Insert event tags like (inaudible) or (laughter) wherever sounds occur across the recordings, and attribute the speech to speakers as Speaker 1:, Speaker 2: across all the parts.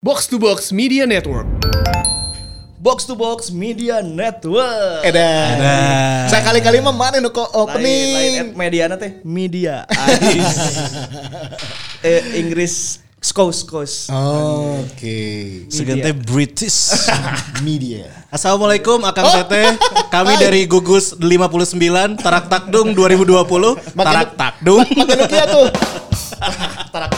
Speaker 1: Box to Box Media Network.
Speaker 2: Box to Box Media Network.
Speaker 3: Edan. Saya kali-kali mah mana nu kok
Speaker 2: Lain, lain at
Speaker 3: opening.
Speaker 2: media na teh media. Ais. eh, Inggris skos
Speaker 3: Oh,
Speaker 2: skos.
Speaker 3: Oke.
Speaker 4: Segan teh British. Oh.
Speaker 3: Media.
Speaker 4: Iya. (laughs) Assalamualaikum Akang Teteh. Kami dari Gugus 59 Tarak Takdung 2020. Tarak Takdung.
Speaker 3: Makin kia tuh. Tarak.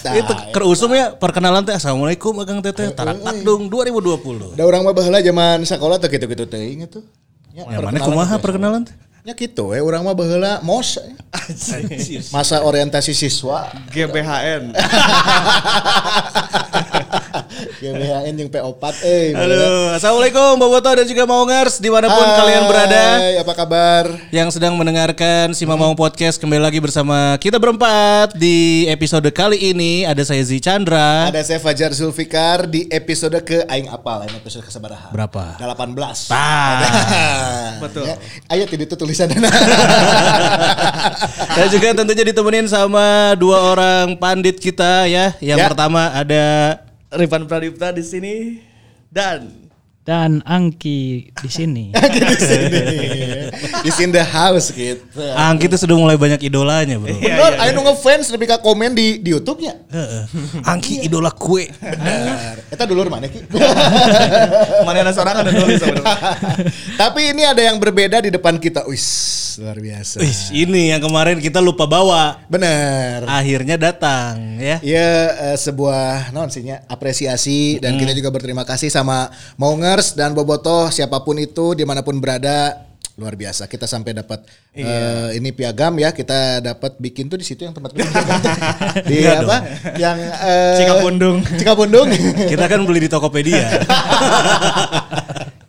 Speaker 3: Nah,
Speaker 4: Itu keusum ya perkenalan teh Assalamualaikum Akang Teteh Tarak Takdung 2020.
Speaker 3: Da urang mah baheula zaman sekolah teh gitu-gitu teuing atuh. Ya,
Speaker 4: Yang mana kumaha perkenalan teh?
Speaker 3: Ya gitu we urang mah baheula mos. eh. Masa orientasi siswa.
Speaker 2: GBHN.
Speaker 3: GBHN yang P4 eh.
Speaker 4: Halo, Iya. Assalamualaikum Boboto dan juga Maungers dimanapun kalian berada.
Speaker 3: Hai, apa kabar?
Speaker 4: Yang sedang mendengarkan Sima Maung Podcast kembali lagi bersama kita berempat di episode kali ini ada saya Zi Chandra.
Speaker 3: Ada saya Fajar Zulfikar di episode ke Aing Apal, ini episode kesebaraha.
Speaker 4: Berapa?
Speaker 3: 18. (laughs)
Speaker 2: Betul.
Speaker 3: Ya, Ayo tidak itu tulisan
Speaker 4: (laughs) Dan juga tentunya ditemenin sama dua orang pandit kita ya. Yang
Speaker 3: Ya.
Speaker 4: pertama ada
Speaker 2: (laughs) Rifan Pradipta di sini dan
Speaker 5: dan Angki di
Speaker 3: (laughs)
Speaker 5: sini.
Speaker 3: di sini. Is in the house gitu.
Speaker 4: Angki itu sudah mulai banyak idolanya bro.
Speaker 3: Bener, ayo nu ngefans lebih ke komen di di YouTube-nya.
Speaker 4: Heeh. Angki idola kue.
Speaker 3: Eta dulur mana ki?
Speaker 2: mana ada seorang ada nulis sebenarnya.
Speaker 3: Tapi ini ada yang berbeda di depan kita. Wis, luar biasa.
Speaker 4: Wih, ini yang kemarin kita lupa bawa.
Speaker 3: Bener.
Speaker 4: Akhirnya datang ya.
Speaker 3: Ya eh, sebuah non sihnya apresiasi dan kita juga berterima kasih sama Maungers dan Bobotoh siapapun itu dimanapun berada luar biasa kita sampai dapat eh, ini piagam ya kita dapat bikin tuh di situ yang tempat di
Speaker 4: Enggak
Speaker 3: apa yang eh,
Speaker 2: Cikapundung.
Speaker 3: Cikapundung
Speaker 4: Kita kan beli di Tokopedia.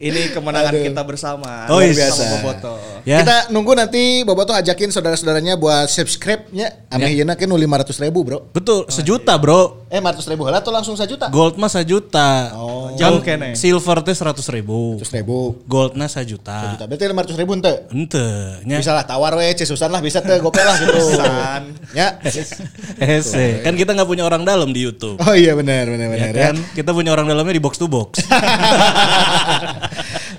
Speaker 2: Ini kemenangan
Speaker 3: Aduh.
Speaker 2: kita bersama.
Speaker 4: Oh,
Speaker 2: Luar
Speaker 4: iya.
Speaker 2: biasa.
Speaker 4: Sama
Speaker 2: Boboto.
Speaker 4: ya.
Speaker 3: kita nunggu nanti Bobotoh ajakin saudara-saudaranya buat subscribe nya ame yeah. kan lima ratus ribu bro
Speaker 4: Betul, sejuta bro.
Speaker 3: eh lima ratus ribu lah atau langsung sejuta
Speaker 4: Gold mah sejuta.
Speaker 3: Oh.
Speaker 2: Jauh
Speaker 4: Gold-
Speaker 2: kene.
Speaker 4: Silver teh seratus ribu.
Speaker 3: ratus ribu
Speaker 4: Goldnya sejuta.
Speaker 3: berarti lima ratus ribu ente
Speaker 4: Ente. Nya.
Speaker 3: Bisa lah tawar we, cesusan lah bisa teh gope lah gitu.
Speaker 2: Cesusan.
Speaker 3: ya.
Speaker 4: (laughs) Hese. Kan kita nggak punya orang dalam di YouTube.
Speaker 3: Oh iya benar benar
Speaker 4: Ya
Speaker 3: benar ya.
Speaker 4: kan? Kita punya orang dalamnya di box to box.
Speaker 3: (laughs)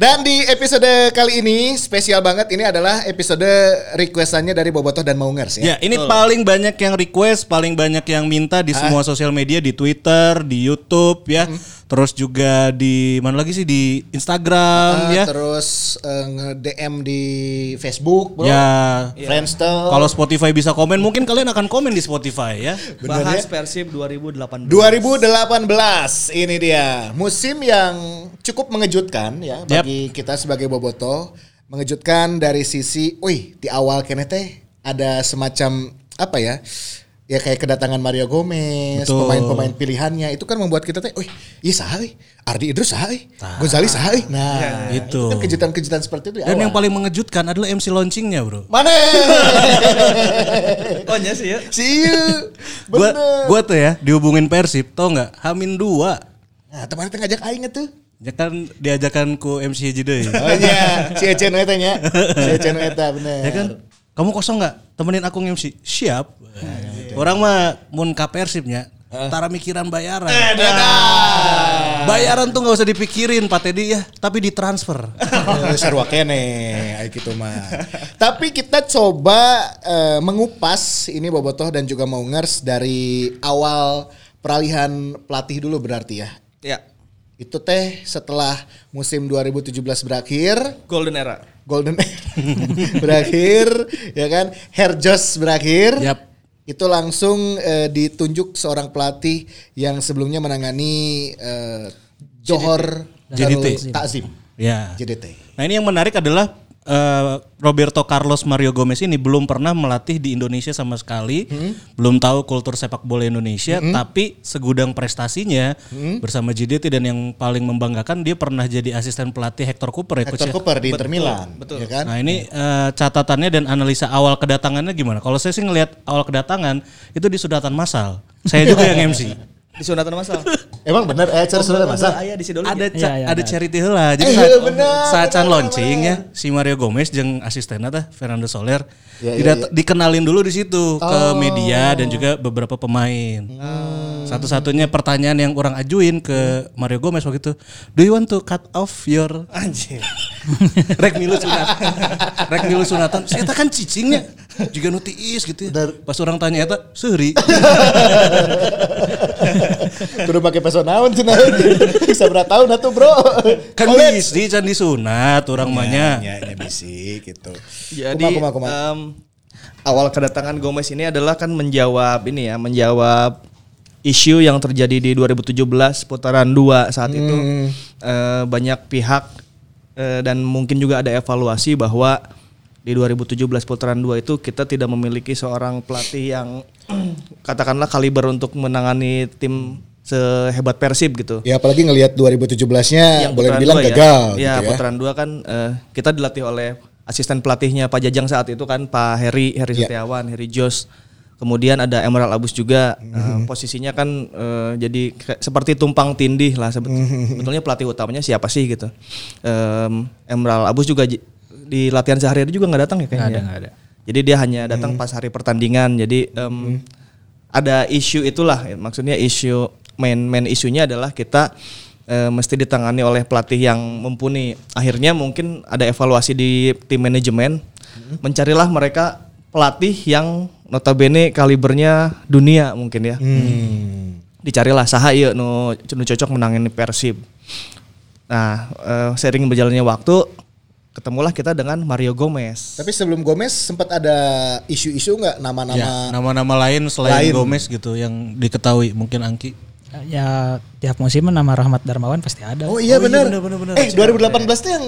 Speaker 3: Dan di episode kali ini spesial banget ini adalah episode requestannya dari Bobotoh dan Maungers (laughs) ya.
Speaker 4: ya, ini paling banyak yang request, paling banyak yang minta
Speaker 3: Ah.
Speaker 4: di semua sosial media, di Twitter, di YouTube ya.
Speaker 3: Hmm.
Speaker 4: Terus juga di mana lagi sih di Instagram
Speaker 3: Eh,
Speaker 4: ya.
Speaker 3: Terus eh, nge-DM di Facebook, bro. Iya.
Speaker 4: Ya.
Speaker 3: Friendster.
Speaker 4: Kalau Spotify bisa komen, mungkin kalian akan komen di Spotify ya.
Speaker 3: Bener
Speaker 2: Bahas
Speaker 3: ya?
Speaker 2: Persib 2018.
Speaker 3: 2018 ini dia musim yang cukup mengejutkan ya bagi kita sebagai Boboto mengejutkan dari sisi, wih di awal kene teh ada semacam apa ya ya kayak kedatangan Mario Gomez
Speaker 4: Betul.
Speaker 3: pemain-pemain pilihannya itu kan membuat kita teh, wih iya saha euy? Ardi Idrus saha euy? Gonzales saha euy?" nah
Speaker 4: Itu.
Speaker 3: kan kejutan-kejutan seperti itu di
Speaker 4: Iya. Gitu. Dan yang
Speaker 3: awal.
Speaker 4: paling mengejutkan adalah MC launchingnya, Bro. (laughs)
Speaker 3: mana
Speaker 2: Oh iya sih ya.
Speaker 3: si ieu.
Speaker 4: Gua,
Speaker 3: bener
Speaker 4: gua tuh ya dihubungin Persib, tau nggak? Hamin dua.
Speaker 3: nah teman teh ngajak aing tuh
Speaker 4: Ya kan diajakan ku MC
Speaker 3: (laughs)
Speaker 4: Jide.
Speaker 3: Oh iya, si Ecen Eta nya. Si Ecen Eta bener.
Speaker 4: ya kan kamu kosong nggak temenin aku MC siap orang mah mun ka persibnya
Speaker 3: Ah.
Speaker 4: tara mikiran bayaran
Speaker 3: Eh, nah.
Speaker 4: bayaran tuh nggak usah dipikirin Pak Teddy ya tapi ditransfer
Speaker 3: (laughs) Eh, Sarwa kene, ay gitu mah. Tapi kita coba eh, mengupas ini Bobotoh dan juga Maungers dari awal peralihan pelatih dulu berarti ya.
Speaker 2: Ya.
Speaker 3: Itu teh setelah musim 2017 berakhir,
Speaker 2: Golden Era.
Speaker 3: Golden (laughs) berakhir, ya kan? Herjos berakhir.
Speaker 4: Yap.
Speaker 3: Itu langsung eh, ditunjuk seorang pelatih yang sebelumnya menangani eh, Johor Darul
Speaker 4: JDT.
Speaker 3: Takzim.
Speaker 4: ya
Speaker 3: JDT.
Speaker 4: nah ini yang menarik adalah eh, Roberto Carlos Mario Gomez ini belum pernah melatih di Indonesia sama sekali,
Speaker 3: Hmm.
Speaker 4: belum tahu kultur sepak bola Indonesia, tapi segudang prestasinya
Speaker 3: Hmm.
Speaker 4: bersama JDT dan yang paling membanggakan dia pernah jadi asisten pelatih Hector Cooper ya, Coach
Speaker 3: Hector
Speaker 4: ya?
Speaker 3: Cooper di Inter Milan, ya kan?
Speaker 4: Nah ini eh, catatannya dan analisa awal kedatangannya gimana? Kalau saya sih ngelihat awal kedatangan itu di sudatan masal. Saya juga yang MC.
Speaker 2: Di sunatan masal.
Speaker 3: Emang bener eh
Speaker 2: Oh,
Speaker 3: cara saudara masa?
Speaker 2: Ayah di Sidoli.
Speaker 4: Ada
Speaker 5: Iya,
Speaker 4: ca-
Speaker 5: iya,
Speaker 4: ada
Speaker 5: ada.
Speaker 4: charity heula. Jadi
Speaker 3: Eh,
Speaker 4: saat,
Speaker 3: iya, benar,
Speaker 4: saat can
Speaker 3: benar,
Speaker 4: launching ya si Mario Gomez jeung asistennya tah Fernando Soler
Speaker 3: Iya, Oh. iya,
Speaker 4: didat- dikenalin dulu di situ ke media dan juga beberapa pemain.
Speaker 3: Hmm.
Speaker 4: Satu-satunya pertanyaan yang orang ajuin ke Mario Gomez waktu itu, do you want to cut off your anjing? (laughs) Rek milu sunatan. (laughs) Rek milu sunatan. Saya kan cicingnya juga nutiis gitu ya. Pas orang tanya eta,
Speaker 3: (laughs)
Speaker 4: "Seuri."
Speaker 3: Kudu pakai peso naon (laughs) cenah. Sabra tahun atuh, Bro.
Speaker 4: Kan
Speaker 3: Oleh.
Speaker 4: bis di can disunat orang mahnya.
Speaker 3: Ya, ya bisik gitu.
Speaker 2: Jadi
Speaker 3: Kumaha, kumaha, kumaha.
Speaker 2: em, awal kedatangan Gomez ini adalah kan menjawab ini ya, menjawab isu yang terjadi di 2017 putaran 2 saat itu
Speaker 3: Hmm.
Speaker 2: Eh, banyak pihak eh, dan mungkin juga ada evaluasi bahwa di 2017 putaran 2 itu kita tidak memiliki seorang pelatih yang (clears throat) katakanlah kaliber untuk menangani tim sehebat Persib gitu.
Speaker 3: Ya apalagi ngelihat 2017-nya
Speaker 2: Yang
Speaker 3: Iya, boleh
Speaker 2: putaran
Speaker 3: dibilang
Speaker 2: Iya, dua ya.
Speaker 3: gagal
Speaker 2: Ya,
Speaker 3: gitu ya.
Speaker 2: putaran dua kan eh, kita dilatih oleh asisten pelatihnya Pak Jajang saat itu kan Pak Heri Heri
Speaker 3: Ya.
Speaker 2: Setiawan, Heri Jos. Kemudian ada Emerald Abus juga.
Speaker 3: Mhm.
Speaker 2: Eh, posisinya kan eh, jadi ke- seperti tumpang tindih lah sebet-
Speaker 3: Mhm.
Speaker 2: sebetulnya pelatih utamanya siapa sih gitu. Em, Emerald Abus juga ji- di latihan sehari-hari juga nggak datang ya kayaknya. Nggak ada, ada. Jadi dia hanya
Speaker 3: Mhm.
Speaker 2: datang pas hari pertandingan. Jadi em, ada isu itulah ya. maksudnya isu main main isunya adalah kita eh, mesti ditangani oleh pelatih yang mumpuni akhirnya mungkin ada evaluasi di tim manajemen mencarilah mereka pelatih yang notabene kalibernya dunia mungkin ya dicarilah saha ieu nu, nu cocok menangin Persib nah eh, sering berjalannya waktu ketemulah kita dengan Mario Gomez
Speaker 3: (laughs) Tapi sebelum Gomez sempat ada isu-isu nggak
Speaker 4: Ya,
Speaker 3: nama-nama
Speaker 4: nama-nama lain selain
Speaker 3: Lain.
Speaker 4: Gomez gitu yang diketahui mungkin Angki.
Speaker 5: Ya tiap musim nama Rahmat Darmawan pasti ada.
Speaker 3: Oh iya
Speaker 4: Oh iya,
Speaker 3: benar.
Speaker 4: benar, benar, benar.
Speaker 3: Eh 2018 tuh yang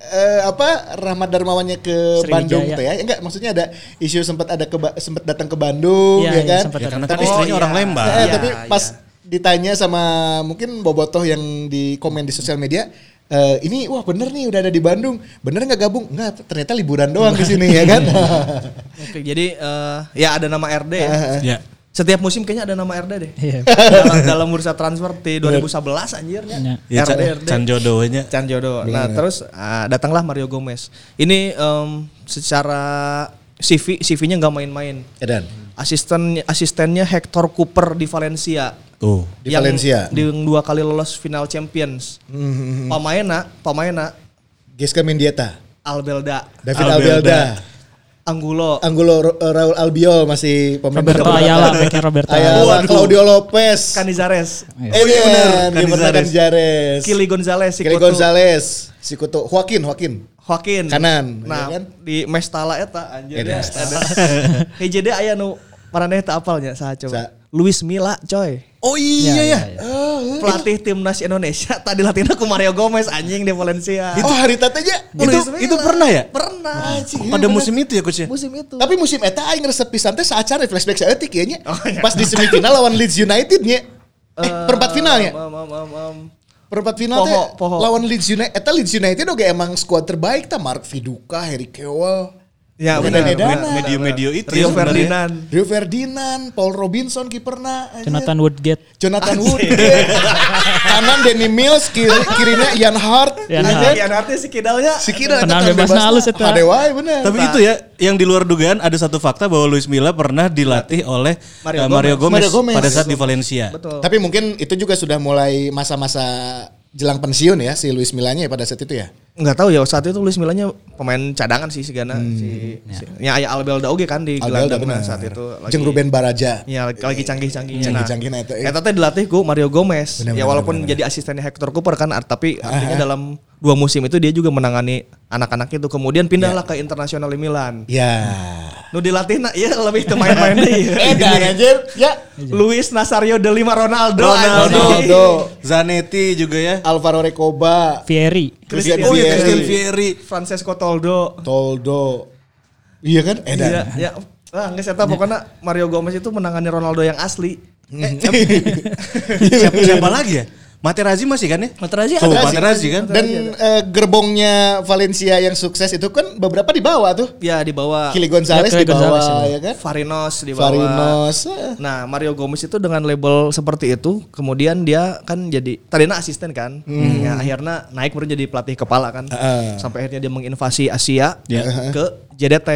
Speaker 3: eh, apa Rahmat Darmawannya ke
Speaker 5: Sriwijaya.
Speaker 3: Bandung tuh ya. Enggak, maksudnya ada isu sempat ada ke Ba- sempat datang ke Bandung
Speaker 5: Iya,
Speaker 3: ya,
Speaker 5: iya,
Speaker 3: kan.
Speaker 5: sempat
Speaker 4: Ya,
Speaker 5: Betul.
Speaker 4: karena kan
Speaker 3: Tapi
Speaker 4: istrinya orang Lembang.
Speaker 3: Eh,
Speaker 2: Iya,
Speaker 3: tapi pas ditanya sama mungkin bobotoh yang di komen di sosial media eh, ini wah bener nih udah ada di Bandung bener nggak gabung nggak ternyata liburan doang di sini ya
Speaker 4: (laughs)
Speaker 3: kan (laughs)
Speaker 2: Oke, jadi eh, ya ada nama RD ya.
Speaker 4: Ya.
Speaker 2: Setiap musim kayaknya ada nama RD deh.
Speaker 5: Iya.
Speaker 2: dalam, dalam bursa transfer di 2011 anjirnya.
Speaker 3: Iya,
Speaker 4: Ya,
Speaker 2: RD
Speaker 4: can,
Speaker 2: RD.
Speaker 4: can jodohnya.
Speaker 2: Can Jodoh. Nah, terus ah, datanglah Mario Gomez. Ini em, secara CV CV-nya nggak main-main.
Speaker 3: Edan
Speaker 2: Asisten asistennya Hector Cooper di Valencia.
Speaker 4: Tuh.
Speaker 3: Di Valencia. Mm-hmm.
Speaker 2: Yang dua kali lolos final Champions. Pemainnya, pemainnya
Speaker 3: Giska Mendieta
Speaker 2: Albelda,
Speaker 3: David
Speaker 4: Albelda.
Speaker 3: Albelda
Speaker 2: Angulo,
Speaker 3: Anggulo Ro- Raul Albiol masih pemain
Speaker 5: Roberto
Speaker 3: keberatan. (laughs)
Speaker 5: Ayala, backnya Roberto
Speaker 3: Ayala,
Speaker 5: Ayala.
Speaker 3: Claudio Lopez
Speaker 2: Kan- Canizares,
Speaker 3: Oh iya benar,
Speaker 4: Canizares.
Speaker 3: Jares.
Speaker 2: Kili Gonzalez,
Speaker 3: Kili
Speaker 2: Sikutu.
Speaker 3: Gonzalez, Sikutu, Joaquin, Joaquin.
Speaker 2: Joaquin
Speaker 3: Kanan,
Speaker 2: nah
Speaker 3: ya kan?
Speaker 2: di Mestala eta anjir ya
Speaker 3: Eta.
Speaker 2: ada (laughs) HJD aya nu maraneh teu apalnya saha
Speaker 3: Sa.
Speaker 2: coba Luis Milla coy
Speaker 4: Oh iya ya.
Speaker 3: Hmm.
Speaker 2: pelatih timnas Indonesia (laughs) tadi latihan aku Mario Gomez anjing di Valencia (laughs)
Speaker 3: Oh, hari tatanya.
Speaker 4: Itu
Speaker 2: Milla.
Speaker 4: itu pernah ya?
Speaker 2: pernah
Speaker 4: Pada musim itu ya coach ya?
Speaker 2: musim itu
Speaker 3: Tapi musim eta aing resep pisan teh saacara flashback saeutik ya nya. Pas di semifinal lawan Leeds United nya. Eh, perempat finalnya.
Speaker 2: Am, am, am, am.
Speaker 3: Perempat final teh
Speaker 2: Poho, poho.
Speaker 3: lawan Leeds United. Eta Leeds United oge emang skuad terbaik ta Mark Viduka, Harry Kewell,
Speaker 2: ya
Speaker 3: Bukan
Speaker 2: benar
Speaker 3: Edana.
Speaker 2: benar.
Speaker 4: Medio-medio itu ya
Speaker 2: Rio
Speaker 4: sebenarnya.
Speaker 2: Ferdinand
Speaker 3: Rio Ferdinand, Paul Robinson kiperna. anjir.
Speaker 5: Jonathan Woodgate.
Speaker 3: Jonathan Wood. Kanan Danny Mills, kiri, kirinya Ian Hart.
Speaker 5: Ian
Speaker 2: Nah,
Speaker 3: anjir.
Speaker 5: Hart.
Speaker 2: yang artinya si kidalnya
Speaker 3: Si kira
Speaker 5: Tenang bebasna halus eta.
Speaker 3: Ada wae bener.
Speaker 4: Tapi itu ya yang di luar dugaan ada satu fakta bahwa Luis Milla pernah dilatih oleh eh,
Speaker 2: Mario
Speaker 4: Mario,
Speaker 2: Gomez.
Speaker 4: Gomez,
Speaker 3: Mario Gomez.
Speaker 4: pada saat di Valencia.
Speaker 2: betul
Speaker 3: Tapi mungkin itu juga sudah mulai masa-masa jelang pensiun ya si Luis Milanya ya pada saat itu ya.
Speaker 2: nggak tahu ya saat itu Luis Milanya pemain cadangan sih si Gana si, si ya aya Albelda oge kan di
Speaker 3: Aldo
Speaker 2: gelandang nah, saat itu lagi-
Speaker 3: Jeng Ruben Baraja.
Speaker 2: Ya lagi canggih-canggihnya.
Speaker 3: Canggih-canggihnya
Speaker 2: nah,
Speaker 3: eta, eh.
Speaker 2: eta teh dilatih ku Mario Gomez.
Speaker 3: Benar,
Speaker 2: ya
Speaker 3: benar,
Speaker 2: walaupun
Speaker 3: benar,
Speaker 2: jadi asistennya Hector Cooper kan art- tapi artinya dalam dua musim itu dia juga menangani anak-anak itu. Kemudian pindahlah ke Internasional Milan.
Speaker 3: Ya.
Speaker 2: Nu dilatih na ya lebih ke main-main deui.
Speaker 3: (laughs)
Speaker 5: Eh,
Speaker 3: Edan anjir. Ya.
Speaker 2: Luis Nazario de Lima Ronaldo.
Speaker 4: Ronaldo,
Speaker 2: anjing.
Speaker 3: Ronaldo.
Speaker 4: Zanetti juga ya.
Speaker 3: Alvaro Recoba.
Speaker 5: Fieri.
Speaker 3: Christian
Speaker 2: Oh, iya,
Speaker 4: Christian
Speaker 3: Vieri.
Speaker 4: Vieri.
Speaker 2: Francesco Toldo.
Speaker 3: Toldo. Iya kan? Edan.
Speaker 2: Iya, ya. Ah, nggak eta pokoknya Mario Gomez itu menangani Ronaldo yang asli.
Speaker 4: siapa, siapa lagi ya? Materazzi masih kan ya?
Speaker 2: Materazzi
Speaker 4: Tuh,
Speaker 2: ada sih.
Speaker 4: Materazzi kan.
Speaker 3: Dan eh, gerbongnya Valencia yang sukses itu kan beberapa dibawa tuh.
Speaker 2: Ya di bawah
Speaker 3: Kili Gonzalez
Speaker 5: Ya, Kili
Speaker 3: dibawa
Speaker 5: Gonzalez,
Speaker 3: ya kan?
Speaker 2: Farinos di bawah
Speaker 3: Farinos. eh.
Speaker 2: Nah, Mario Gomez itu dengan label seperti itu, kemudian dia kan jadi tadinya asisten kan. Ya, akhirnya naik baru jadi pelatih kepala kan. Sampai akhirnya dia menginvasi Asia ke JDT.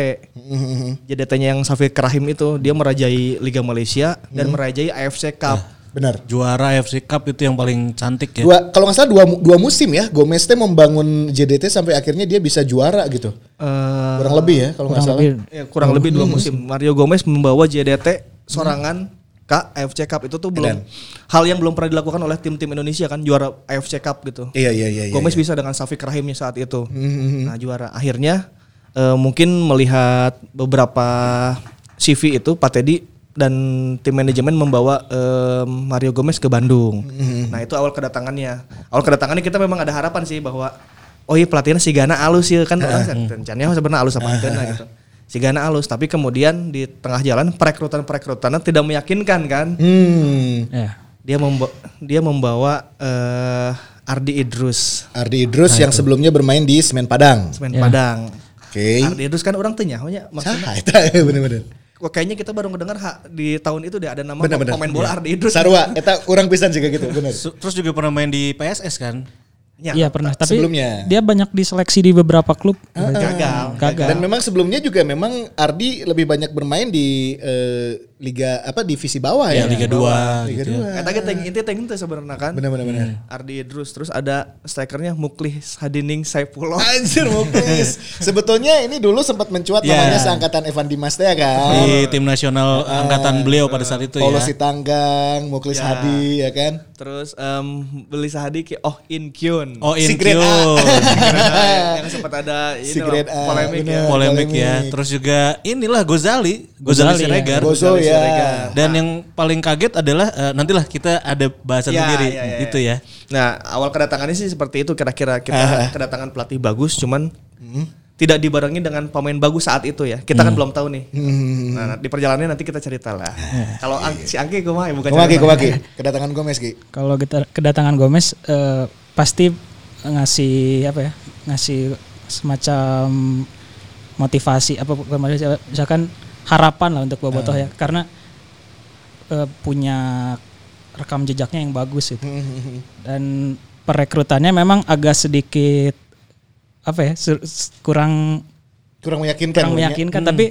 Speaker 2: JDT-nya yang Safir Kerahim itu, dia merajai Liga Malaysia dan merajai AFC Cup.
Speaker 3: Benar.
Speaker 4: Juara FC Cup itu yang paling cantik ya.
Speaker 3: Dua kalau nggak salah dua dua musim ya Gomez teh membangun JDT sampai akhirnya dia bisa juara gitu.
Speaker 2: Eh,
Speaker 3: Kurang lebih ya kalau nggak
Speaker 5: kurang
Speaker 3: salah.
Speaker 5: lebih
Speaker 2: ya, kurang lebih dua musim. Mario Gomez membawa JDT sorangan ke AFC Cup itu tuh belum hal yang belum pernah dilakukan oleh tim-tim Indonesia kan juara AFC Cup gitu.
Speaker 3: Iya iya iya iya. Mm-hmm.
Speaker 2: Gomez bisa dengan Safik Rahimnya saat itu. Nah, juara. Akhirnya eh, mungkin melihat beberapa CV itu Pak Teddy dan tim manajemen membawa eh, Mario Gomez ke Bandung.
Speaker 3: Mm-hmm.
Speaker 2: Nah, itu awal kedatangannya. Awal kedatangannya kita memang ada harapan sih bahwa oh iya pelatihnya si Gana alus ya kan orang
Speaker 3: Mm-hmm.
Speaker 2: rencananya sebenarnya alus apa enggak gitu. Si Gana alus, tapi kemudian di tengah jalan perekrutan-perekrutannya tidak meyakinkan kan
Speaker 3: Hmm.
Speaker 5: ya.
Speaker 2: dia memba- dia membawa eh, Ardi Idrus
Speaker 3: Ardi Idrus yang sebelumnya bermain di Semen Padang.
Speaker 2: semen Padang.
Speaker 3: Oke. Ah,
Speaker 2: Ardi Idrus kan orang tanya, nya maksudnya
Speaker 3: Sah, (laughs) itu benar-benar.
Speaker 2: wah, kayaknya kita baru ngedengar ha, di tahun itu deh ada nama
Speaker 3: Benar-benar.
Speaker 2: pemain bola Ardi Idrus.
Speaker 3: Iya. Sarua, eta kurang pisan juga gitu, benar.
Speaker 4: Su- Terus juga pernah main di PSS kan?
Speaker 2: Ya,
Speaker 5: Iya pernah, tapi
Speaker 3: Sebelumnya.
Speaker 5: dia banyak diseleksi di beberapa klub.
Speaker 2: gagal.
Speaker 5: Gagal.
Speaker 3: Dan memang sebelumnya juga memang Ardi lebih banyak bermain di eh, liga apa divisi bawah ya.
Speaker 4: Ya, Liga 2
Speaker 3: Liga
Speaker 4: gitu.
Speaker 3: 2.
Speaker 4: ya.
Speaker 2: Kata kita itu tank itu sebenarnya kan.
Speaker 3: Benar benar benar.
Speaker 2: Ardi Idrus terus ada strikernya Muklis Hadining Saifullah.
Speaker 3: Anjir Muklis. Sebetulnya ini dulu sempat mencuat
Speaker 4: Ya.
Speaker 3: namanya seangkatan Evan Dimas teh ya kan.
Speaker 4: Di tim nasional angkatan beliau pada saat itu
Speaker 3: Paulo
Speaker 4: ya.
Speaker 3: Sitanggang, Muklis
Speaker 2: Ya.
Speaker 3: Hadi ya kan.
Speaker 2: Terus em beli sahadi ke Oh In Kyun.
Speaker 4: Oh,
Speaker 3: Si
Speaker 4: in
Speaker 3: Grade A.
Speaker 4: (laughs)
Speaker 2: yang sempat ada ini
Speaker 3: Si grade
Speaker 2: loh,
Speaker 3: A,
Speaker 2: polemik ya.
Speaker 3: bener.
Speaker 4: polemik
Speaker 3: Polemik.
Speaker 4: ya. Terus juga inilah Gozali, Gozali,
Speaker 5: Gozali, ya.
Speaker 4: Siregar.
Speaker 3: Bozo
Speaker 2: Rizal
Speaker 3: ya.
Speaker 4: Dan yang paling kaget adalah eh, nantilah kita ada bahasan
Speaker 2: Ya,
Speaker 4: sendiri
Speaker 2: ya, ya,
Speaker 3: gitu
Speaker 4: itu ya.
Speaker 2: Nah, awal kedatangannya sih seperti itu kira-kira
Speaker 3: Eh.
Speaker 2: kita kedatangan pelatih bagus cuman
Speaker 3: Hmm.
Speaker 2: tidak dibarengi dengan pemain bagus saat itu ya. Kita kan belum tahu nih.
Speaker 3: Hmm.
Speaker 2: Nah, di perjalanannya nanti kita cerita lah. Kalau Ang- si Angki gue mah bukan
Speaker 3: Eh. Kumaki,
Speaker 2: cerita.
Speaker 3: kumaki. Kedatangan Gomez, Ki.
Speaker 5: Kalau kita kedatangan Gomez eh, pasti ngasih apa ya? Ngasih semacam motivasi apa bukan motivasi, apa, misalkan harapan lah untuk Bobotoh ya karena eh, punya rekam jejaknya yang bagus itu. Dan perekrutannya memang agak sedikit apa ya? sur- s- kurang
Speaker 3: Kurang meyakinkan.
Speaker 5: kurang
Speaker 3: punya. Hmm.
Speaker 5: meyakinkan tapi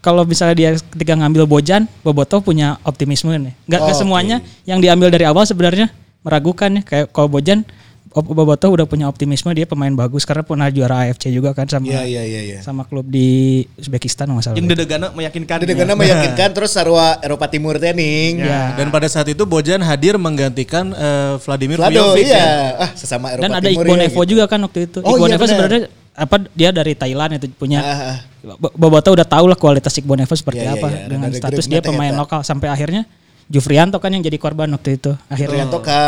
Speaker 5: kalau misalnya dia ketika ngambil Bojan, Boboto punya optimisme nih. Enggak
Speaker 3: Oh, Oke.
Speaker 5: semuanya yang diambil dari awal sebenarnya meragukan ya. Kayak kalau Bojan Ob- Boboto udah punya optimisme dia pemain bagus karena pernah juara AFC juga kan sama
Speaker 3: Iya, iya, iya, iya.
Speaker 5: sama klub di Uzbekistan nggak salah.
Speaker 2: Yang dedegana meyakinkan.
Speaker 3: Ada karena meyakinkan terus Sarwa Eropa Timur teh ning.
Speaker 4: Dan pada saat itu Bojan hadir menggantikan eh, Vladimir
Speaker 3: Vlado,
Speaker 4: Vujovic ya.
Speaker 3: iya. Ah, sesama Eropa
Speaker 5: Dan ada
Speaker 3: Timur.
Speaker 5: Igbo
Speaker 3: ya,
Speaker 5: Nevo
Speaker 3: gitu.
Speaker 5: juga kan waktu itu.
Speaker 3: Oh,
Speaker 5: Igbo
Speaker 3: iya,
Speaker 5: Nevo
Speaker 3: benar.
Speaker 5: sebenarnya apa dia dari Thailand itu punya
Speaker 3: Ah, ah.
Speaker 5: Bo- Boboto udah tahu lah kualitas Igbo Nevo seperti
Speaker 3: Iya, iya,
Speaker 5: apa
Speaker 3: iya.
Speaker 5: dengan
Speaker 3: Ada
Speaker 5: status
Speaker 3: Greg
Speaker 5: dia
Speaker 3: Neta,
Speaker 5: pemain
Speaker 3: Eta.
Speaker 5: lokal sampai akhirnya Jufrianto kan yang jadi korban waktu itu akhirnya
Speaker 3: Trianto ke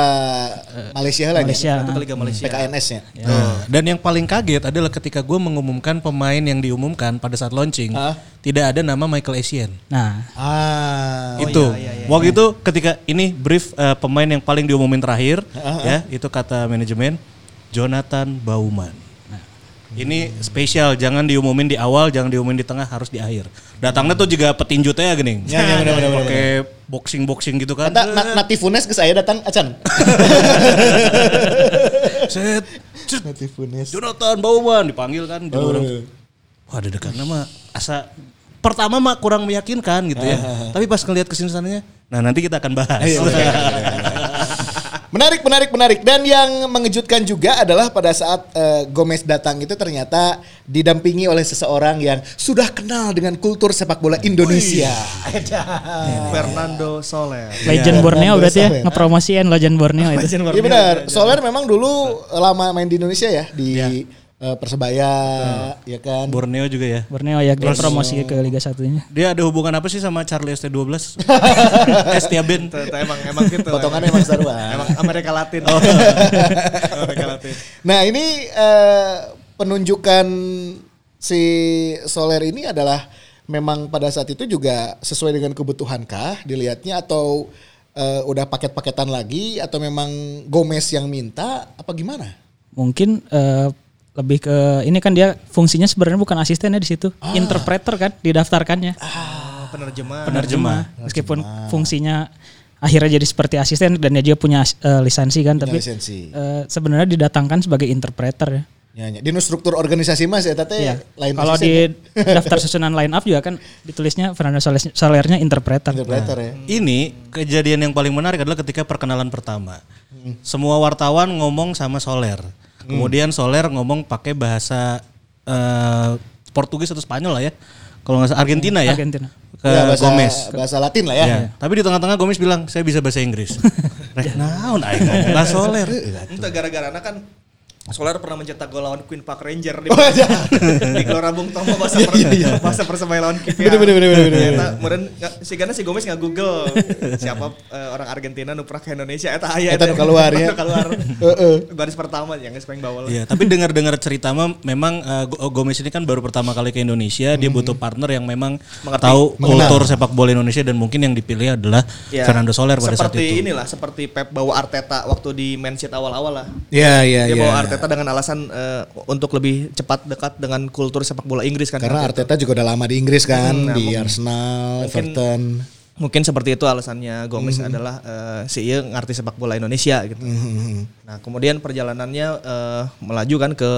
Speaker 3: Malaysia lah
Speaker 5: Iya. Malaysia.
Speaker 2: Itu ke Liga Malaysia.
Speaker 3: PKNS-nya.
Speaker 4: Nah, Dan yang paling kaget adalah ketika gue mengumumkan pemain yang diumumkan pada saat launching,
Speaker 3: Ah.
Speaker 4: tidak ada nama Michael Essien.
Speaker 5: Nah,
Speaker 3: Ah.
Speaker 4: itu waktu itu ketika ini brief eh, pemain yang paling diumumin terakhir
Speaker 3: Ah,
Speaker 4: ya itu kata manajemen Jonathan Bauman Nah, ini
Speaker 3: Hmm.
Speaker 4: spesial jangan diumumin di awal jangan diumumin di tengah harus di akhir datangnya tuh juga petinju teh ya gini
Speaker 3: Ya, ya, benar, benar, benar,
Speaker 4: pakai boxing boxing gitu kan
Speaker 3: Kata na Natifunes ke saya datang, Acan. (laughs)
Speaker 4: set set,
Speaker 3: Natifunes.
Speaker 4: Jonathan Bauman dipanggil kan
Speaker 3: Oh,
Speaker 4: jadi orang
Speaker 3: iya.
Speaker 4: wah dedekan nama asa pertama mah kurang meyakinkan gitu
Speaker 3: Ah,
Speaker 4: ya tapi pas ngelihat kesini sananya nah nanti kita akan bahas
Speaker 3: Iya, Menarik, menarik, menarik. Dan yang mengejutkan juga adalah pada saat eh, Gomez datang itu ternyata didampingi oleh seseorang yang sudah kenal dengan kultur sepak bola Indonesia.
Speaker 2: Fernando Soler.
Speaker 5: Iya, Legend Borneo
Speaker 3: Fernando
Speaker 5: berarti ya
Speaker 3: Soler.
Speaker 5: ngepromosiin Legend Borneo itu.
Speaker 3: Iya benar. Soler memang dulu lama main di Indonesia ya di eh, Persebaya, ya kan.
Speaker 4: (laughs) Borneo juga ya
Speaker 5: Borneo ya dia promosi ke Liga Satunya.
Speaker 4: Dia ada hubungan apa sih sama Charlie
Speaker 3: (laughs)
Speaker 4: ST12? Estiaben.
Speaker 2: Ternyata emang emang gitu.
Speaker 3: Potongannya emang seru, ah. Oh.
Speaker 2: Emang Amerika Latin. (laughs) Amerika Latin.
Speaker 3: Nah ini eh, penunjukan si Soler ini adalah memang pada saat itu juga sesuai dengan kebutuhan kah dilihatnya atau eh, udah paket-paketan lagi atau memang Gomez yang minta apa gimana?
Speaker 5: Mungkin eh, lebih ke ini kan dia fungsinya sebenarnya bukan asistennya di situ, interpreter kan didaftarkannya.
Speaker 2: Oh, penerjemah.
Speaker 4: Penerjemah.
Speaker 5: Meskipun fungsinya akhirnya jadi seperti asisten dan dia juga punya as- eh, lisensi kan, tapi
Speaker 3: lisensi.
Speaker 5: eh, sebenarnya didatangkan sebagai interpreter ya.
Speaker 3: Ya, ya. Dino struktur organisasi mas ya tete
Speaker 5: Iya.
Speaker 3: lain ya?
Speaker 5: Kalau
Speaker 3: posisi,
Speaker 5: di (laughs) daftar susunan line up juga kan ditulisnya Fernando Soler- Solernya interpreter.
Speaker 3: interpreter ya.
Speaker 4: Ini kejadian yang paling menarik adalah ketika perkenalan pertama.
Speaker 3: Hmm.
Speaker 4: Semua wartawan ngomong sama Soler. Kemudian Soler ngomong pakai bahasa eh, Portugis atau Spanyol lah ya. Kalau nggak salah Argentina ya.
Speaker 5: Argentina.
Speaker 4: Ke
Speaker 3: Ya, bahasa,
Speaker 4: Gomez.
Speaker 3: bahasa Latin lah ya.
Speaker 5: Iya.
Speaker 4: Ya. Tapi di tengah-tengah Gomez bilang, "Saya bisa bahasa
Speaker 3: (laughs)
Speaker 4: Inggris." Rek naon aing ngomong lah Soler.
Speaker 3: Iya,
Speaker 2: Entah gara-gara kan Solar pernah mencetak gol lawan Queen Park Ranger
Speaker 3: Oh,
Speaker 2: di,
Speaker 3: iya.
Speaker 2: di Gelora Bung Tomo bahasa per, bahasa persebaya lawan Kipia.
Speaker 3: Bener, bener, bener, bener, bener.
Speaker 2: Eta meureun nga- si Gana si Gomez nggak Google siapa eh, orang Argentina nu pernah ke Indonesia eta aya
Speaker 3: Eta nu kaluar, ya.
Speaker 2: Nu kaluar.
Speaker 3: Heeh.
Speaker 2: Baris pertama yang geus paling bawah. lah.
Speaker 4: Iya, (laughs) tapi dengar-dengar cerita mah memang eh, Go- Gomez ini kan baru pertama kali ke Indonesia, dia butuh partner yang memang tahu kultur sepak bola Indonesia dan mungkin yang dipilih adalah
Speaker 2: Ya,
Speaker 4: Fernando Soler pada saat
Speaker 2: seperti
Speaker 4: itu.
Speaker 2: inilah seperti Pep bawa Arteta waktu di Man City awal-awal lah.
Speaker 3: Iya iya
Speaker 2: Dia
Speaker 3: iya.
Speaker 2: bawa Arteta dengan alasan eh, untuk lebih cepat dekat dengan kultur sepak bola Inggris kan.
Speaker 3: Karena Arteta juga udah lama di Inggris kan,
Speaker 2: Hmm,
Speaker 3: di Arsenal, Everton.
Speaker 2: mungkin seperti itu alasannya Gomez adalah eh, si ieu ngerti sepak bola Indonesia gitu.
Speaker 3: Hmm.
Speaker 2: Nah, kemudian perjalanannya eh, melaju kan ke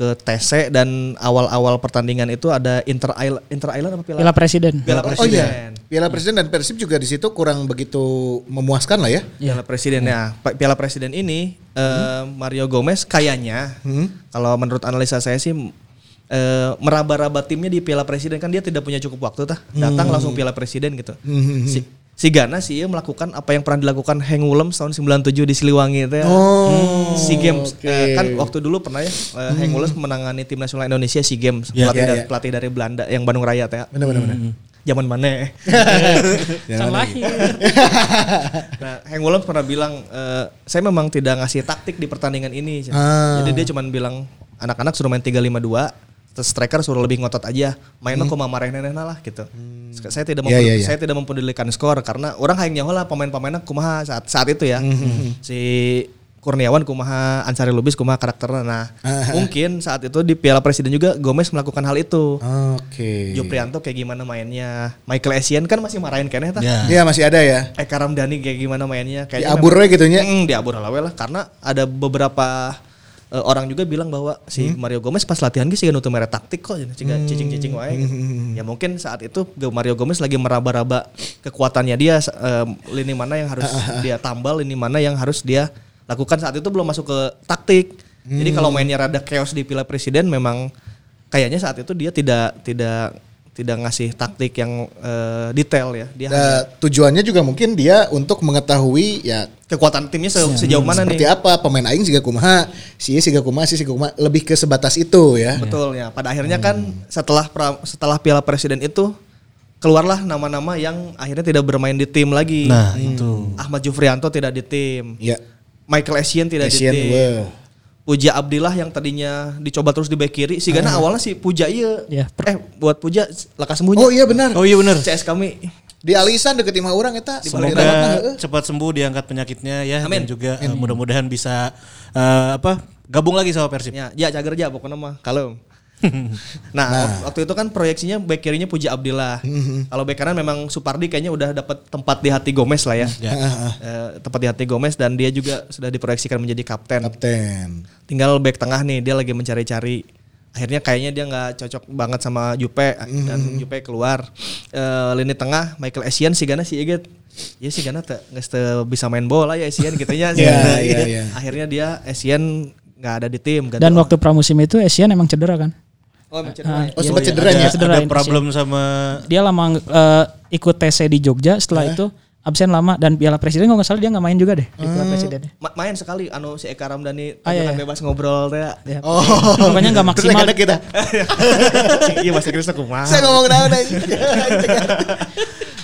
Speaker 2: ke TC dan awal-awal pertandingan itu ada Inter Island Inter Island apa Piala,
Speaker 5: Piala Presiden.
Speaker 2: Piala
Speaker 3: Oh
Speaker 2: Presiden.
Speaker 3: iya, Piala Presiden dan Persib juga di situ kurang begitu memuaskan lah ya.
Speaker 2: Piala Presiden ya. Pa- Piala Presiden ini eh,
Speaker 3: Hmm?
Speaker 2: Mario Gomez kayaknya kalau menurut analisa saya sih eh, meraba-raba timnya di Piala Presiden kan dia tidak punya cukup waktu tah.
Speaker 3: Hmm.
Speaker 2: Datang langsung Piala Presiden gitu. Si, si Gana sih ia melakukan apa yang pernah dilakukan Heng Wulem tahun 97 di Siliwangi itu ya.
Speaker 3: Oh,
Speaker 2: Si Games
Speaker 3: oke. Hmm.
Speaker 2: Eh, kan waktu dulu pernah ya eh, Heng Wulem menangani tim nasional Indonesia Si Games pelatih,
Speaker 3: ya,
Speaker 2: dari,
Speaker 3: ya.
Speaker 2: pelatih dari Belanda yang Bandung Raya teh. ya. Hmm,
Speaker 3: Benar benar benar.
Speaker 2: Zaman mana? ya?
Speaker 5: Kan lahir.
Speaker 2: Nah, Hank Williams pernah bilang, "Eh, saya memang tidak ngasih taktik di pertandingan ini.
Speaker 3: Ah.
Speaker 2: Jadi dia cuman bilang, anak-anak suruh main 3-5-2, terus striker suruh lebih ngotot aja. Main mah kumaha marehneunehna lah gitu. Saya tidak
Speaker 3: Hmm. Iya, iya,
Speaker 2: mempeduli-
Speaker 3: iya.
Speaker 2: saya tidak mempedulikan skor karena orang hayang nyaho lah pemain-pemainnya kumaha saat saat itu ya.
Speaker 3: Hmm.
Speaker 2: Si Kurniawan kumaha, Ansari Lubis kumaha karakternya. Nah,
Speaker 3: Ah.
Speaker 2: mungkin saat itu di Piala Presiden juga Gomez melakukan hal itu.
Speaker 3: Oh, Oke.
Speaker 2: Joprianto kayak gimana mainnya. Michael Essien kan masih marahin kene tah.
Speaker 4: Ya.
Speaker 3: Iya masih ada ya.
Speaker 2: Eka Ramdhani kayak gimana mainnya
Speaker 3: Di
Speaker 2: kayaknya
Speaker 3: Abur
Speaker 2: memang-
Speaker 3: we gitu nya.
Speaker 2: Mm, di Abur Halawe lah karena ada beberapa eh, orang juga bilang bahwa si Mario Gomez pas latihan ge sih nutup merek taktik kok ciga cicing-cicing wae gitu. Ya mungkin saat itu Ge- Mario Gomez lagi meraba-raba kekuatannya dia sa- eh, lini mana yang harus dia tambal, lini mana yang harus dia lakukan saat itu belum masuk ke taktik. Jadi kalau mainnya rada chaos di Piala Presiden memang kayaknya saat itu dia tidak tidak tidak ngasih taktik yang eh, detail ya. Dia hanya
Speaker 3: Eh, tujuannya juga mungkin dia untuk mengetahui ya
Speaker 2: kekuatan timnya se- sejauh mana
Speaker 3: seperti
Speaker 2: nih?
Speaker 3: apa pemain aing siga kumaha, si ieu siga kumaha, si siga kumaha, lebih ke sebatas itu ya.
Speaker 2: Betul ya. Pada akhirnya
Speaker 3: Hmm.
Speaker 2: kan setelah pra- setelah Piala Presiden itu keluarlah nama-nama yang akhirnya tidak bermain di tim lagi. Hmm.
Speaker 4: Nah, itu.
Speaker 2: Ahmad Jufrianto tidak di tim.
Speaker 3: Ya.
Speaker 2: Michael Essien tidak
Speaker 3: Essien,
Speaker 2: di tim.
Speaker 3: wow.
Speaker 2: Puja Abdillah yang tadinya dicoba terus di bek kiri, si Gana
Speaker 3: Ah.
Speaker 2: awalnya si Puja iya.
Speaker 5: Ya,
Speaker 2: eh buat Puja lekas sembunyi.
Speaker 3: Oh iya benar.
Speaker 4: Oh iya benar.
Speaker 2: CS kami.
Speaker 3: Di alisan deket imah orang eta.
Speaker 4: Semoga
Speaker 3: eh?
Speaker 4: cepat sembuh diangkat penyakitnya ya
Speaker 2: Amin.
Speaker 4: dan juga eh, mudah-mudahan bisa eh, apa gabung lagi sama Persib.
Speaker 2: Ya, ya cager ja pokoknya mah
Speaker 3: (laughs)
Speaker 2: kalem. nah, wak- waktu itu kan proyeksinya back kirinya Puja Abdillah.
Speaker 3: Mm-hmm.
Speaker 2: Kalau back kanan memang Supardi kayaknya udah dapat tempat di hati Gomez lah ya.
Speaker 3: (laughs) Ah,
Speaker 2: Eh, tempat di hati Gomez dan dia juga sudah diproyeksikan menjadi kapten.
Speaker 3: Kapten.
Speaker 2: Tinggal back tengah nih, dia lagi mencari-cari. Akhirnya kayaknya dia nggak cocok banget sama Jupe dan
Speaker 3: Mm-hmm.
Speaker 2: Jupe keluar. Eh, lini tengah Michael Essien si Gana si Eget. Ya si Gana teu- nggak teu bisa main bola ya Essien
Speaker 3: (laughs)
Speaker 2: gitunya.
Speaker 3: Iya, iya, iya.
Speaker 2: Akhirnya dia Essien nggak ada di tim. ganti
Speaker 5: Dan
Speaker 2: orang.
Speaker 5: waktu pramusim itu Asian emang cedera kan?
Speaker 2: Oh, emang cedera ya?
Speaker 3: Oh,
Speaker 5: Iya,
Speaker 3: sempat
Speaker 5: iya.
Speaker 3: cedera ya?
Speaker 5: Cedera
Speaker 4: Ada
Speaker 5: ini,
Speaker 4: problem sama
Speaker 5: Dia lama eh, ikut TC di Jogja, setelah itu absen lama dan Piala Presiden kalau nggak salah dia nggak main juga deh di Piala Presiden.
Speaker 2: Ma- main sekali anu si Eka Ramdhani
Speaker 5: Ah, iya,
Speaker 2: panggilan
Speaker 5: iya.
Speaker 2: bebas ngobrol teh.
Speaker 5: Ya.
Speaker 2: (laughs)
Speaker 3: Oh.
Speaker 5: Pokoknya nggak
Speaker 3: Terus
Speaker 5: maksimal. Ah.
Speaker 3: ada kita.
Speaker 2: Iya bahasa Inggrisnya kumaha.
Speaker 3: Saya ngomong naon aja.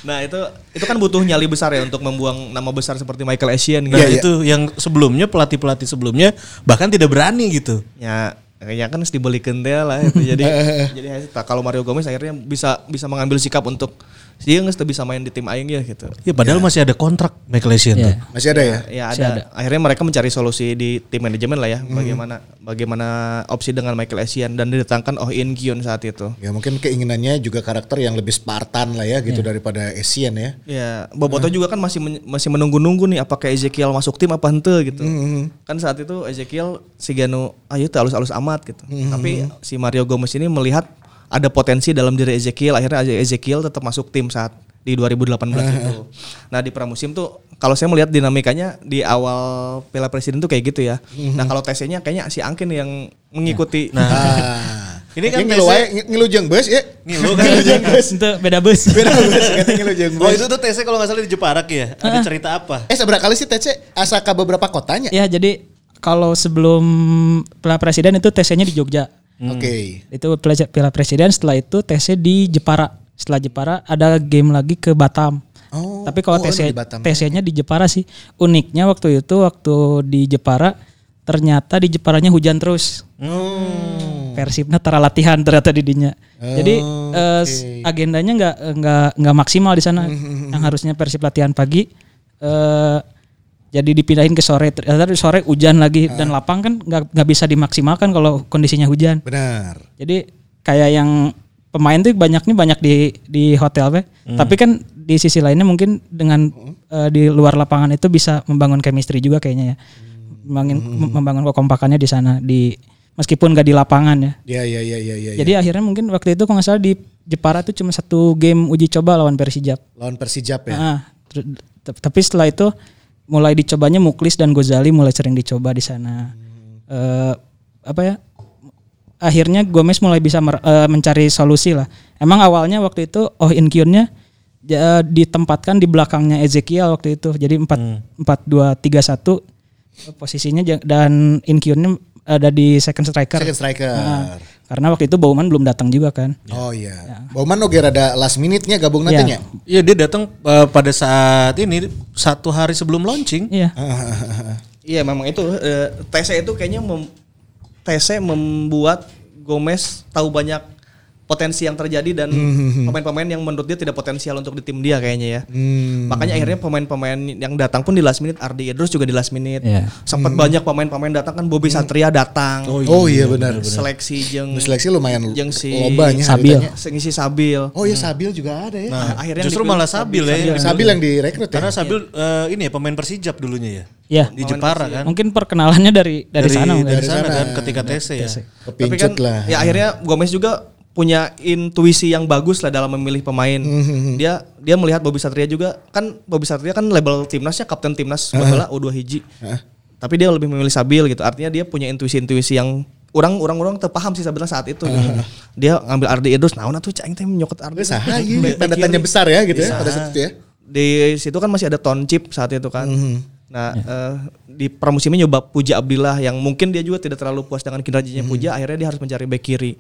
Speaker 2: Nah, itu itu kan butuh nyali besar ya untuk membuang nama besar seperti Michael Essien gitu.
Speaker 4: Nah, itu yang sebelumnya pelatih-pelatih sebelumnya bahkan tidak berani gitu.
Speaker 2: Ya, ya kan harus dibelikan teh lah itu. Jadi jadi hashtag. kalau Mario Gomez akhirnya bisa bisa mengambil sikap untuk dia nggak bisa main di tim aing ya gitu.
Speaker 4: Ya padahal masih ada kontrak McLean
Speaker 5: Iya.
Speaker 4: tuh.
Speaker 3: (laughs) Masih ada ya?
Speaker 2: Ya ada. Akhirnya mereka mencari solusi di tim manajemen lah ya. Bagaimana bagaimana opsi dengan Michael Essien dan didatangkan Oh In Kyun saat itu.
Speaker 3: Ya mungkin keinginannya juga karakter yang lebih Spartan lah ya gitu
Speaker 5: Iya.
Speaker 3: daripada Asian ya.
Speaker 5: (laughs)
Speaker 2: Ya, Boboto juga kan masih men- masih menunggu-nunggu nih apakah Ezekiel masuk tim apa hente gitu. Kan saat itu Ezekiel si Gano ayo teh alus-alus amat gitu. Tapi si Mario Gomez ini melihat ada potensi dalam diri Ezekiel, akhirnya Ezekiel tetap masuk tim saat di 2018 itu. Nah, di pramusim tuh kalau saya melihat dinamikanya di awal Piala Presiden tuh kayak gitu ya. Nah, kalau TC-nya kayaknya si Angkin yang mengikuti. (laughs)
Speaker 3: Ah.
Speaker 4: Ini kan
Speaker 3: Ya, ngilu
Speaker 4: biasa-
Speaker 3: wae, ngi- ngilu jeung beus ya. (laughs)
Speaker 4: Ngilu kan.
Speaker 5: Itu beda bus.
Speaker 3: Beda beus kata ngilu jeung
Speaker 4: Oh
Speaker 3: beus.
Speaker 4: itu tuh TC kalau nggak salah di Jeparak ya. Ada cerita apa?
Speaker 3: Eh seberapa kali sih TC asa ke beberapa kotanya?
Speaker 5: ya jadi kalau sebelum Piala Presiden itu TC-nya di Jogja.
Speaker 3: Oke.
Speaker 5: Itu Piala- Piala Presiden setelah itu TC di Jepara. Setelah Jepara ada game lagi ke Batam.
Speaker 3: Oh,
Speaker 5: Tapi kalau
Speaker 3: oh, di
Speaker 5: TC
Speaker 3: Batam.
Speaker 5: TC-nya di Jepara sih. Uniknya waktu itu waktu di Jepara ternyata di Jeparanya hujan terus.
Speaker 3: Hmm.
Speaker 5: Persibnya tara latihan ternyata di dinya. Jadi
Speaker 3: Oh,
Speaker 5: eh, s- agendanya nggak nggak nggak maksimal di
Speaker 3: (laughs)
Speaker 5: sana. Yang harusnya Persib latihan pagi eh jadi dipindahin ke sore. Ternyata di sore hujan lagi
Speaker 3: Ah.
Speaker 5: dan lapang kan nggak nggak bisa dimaksimalkan kalau kondisinya hujan.
Speaker 3: Benar.
Speaker 5: Jadi kayak yang pemain tuh banyaknya banyak di di hotel Pak. Tapi kan di sisi lainnya mungkin dengan eh, di luar lapangan itu bisa membangun chemistry juga kayaknya ya. Membangun mem- membangun kekompakannya di sana di meskipun gak di lapangan ya.
Speaker 3: Ya ya ya ya ya.
Speaker 5: Jadi akhirnya mungkin waktu itu kalau nggak salah di Jepara tuh cuma satu game uji coba lawan Persijap.
Speaker 3: lawan Persijap ya.
Speaker 5: Ah, ter- te- tapi setelah itu mulai dicobanya Muklis dan Gozali mulai sering dicoba di sana. Eh, apa ya? Akhirnya Gomez mulai bisa mer- eh, mencari solusi lah. Emang awalnya waktu itu Oh In Kyun-nya ja- ditempatkan di belakangnya Ezekiel waktu itu. Jadi 4 empat 2 3 1 eh, posisinya ja- dan In Kyun-nya ada di second striker.
Speaker 3: Second striker.
Speaker 5: Ah, karena waktu itu Bauman belum datang juga kan.
Speaker 3: Oh iya. Bauman oge rada last minute-nya gabung
Speaker 5: Iya.
Speaker 3: nantinya. (laughs)
Speaker 4: Iya dia datang eh, pada saat ini satu hari sebelum launching.
Speaker 5: Iya.
Speaker 2: Iya memang itu eh, TC itu kayaknya mem- TC membuat Gomez tahu banyak potensi yang terjadi dan
Speaker 3: Hmm.
Speaker 2: pemain-pemain yang menurut dia tidak potensial untuk di tim dia kayaknya ya.
Speaker 3: Hmm.
Speaker 2: Makanya akhirnya pemain-pemain yang datang pun di last minute Ardi Idrus juga di last minute.
Speaker 5: Iya.
Speaker 2: Sempat banyak pemain-pemain datang kan Bobby Satria datang.
Speaker 3: Hmm. Oh iya benar.
Speaker 2: Seleksi jeng
Speaker 3: Seleksi lumayan
Speaker 2: jeng si
Speaker 3: lobanya
Speaker 5: Sabil.
Speaker 3: habitannya.
Speaker 2: Sengisi Sabil.
Speaker 3: Oh iya Sabil juga ada ya.
Speaker 4: Nah,
Speaker 2: akhirnya
Speaker 4: justru
Speaker 2: dipilih
Speaker 4: malah Sabil, ya. yang
Speaker 3: Sabil yang direkrut ya.
Speaker 4: Karena Sabil eh, ini ya pemain Persijap dulunya ya.
Speaker 5: Iya.
Speaker 4: Di Jepara kan.
Speaker 5: Mungkin perkenalannya dari dari, sana mungkin.
Speaker 4: dari sana kan ketika TC ya.
Speaker 2: Tapi kan
Speaker 3: Kepincut lah.
Speaker 2: ya akhirnya Gomez juga punya intuisi yang bagus lah dalam memilih pemain.
Speaker 3: Mm-hmm.
Speaker 2: Dia dia melihat Bobby Satria juga kan Bobby Satria kan label timnasnya kapten timnas bola U2 hiji. Tapi dia lebih memilih Sabil gitu. Artinya dia punya intuisi-intuisi yang orang orang orang terpaham sih sebenarnya saat itu. gitu. Dia ngambil Ardi Idrus, nah tuh ceng teh nyokot Ardi.
Speaker 3: Terus ah, iya, tanda tanya besar ya gitu ya pada saat itu ya.
Speaker 2: Di situ kan masih ada Ton Chip saat itu kan. Nah, eh, di pramusimnya nyoba Puja Abdillah yang mungkin dia juga tidak terlalu puas dengan kinerjanya Puja, akhirnya dia harus mencari bek kiri.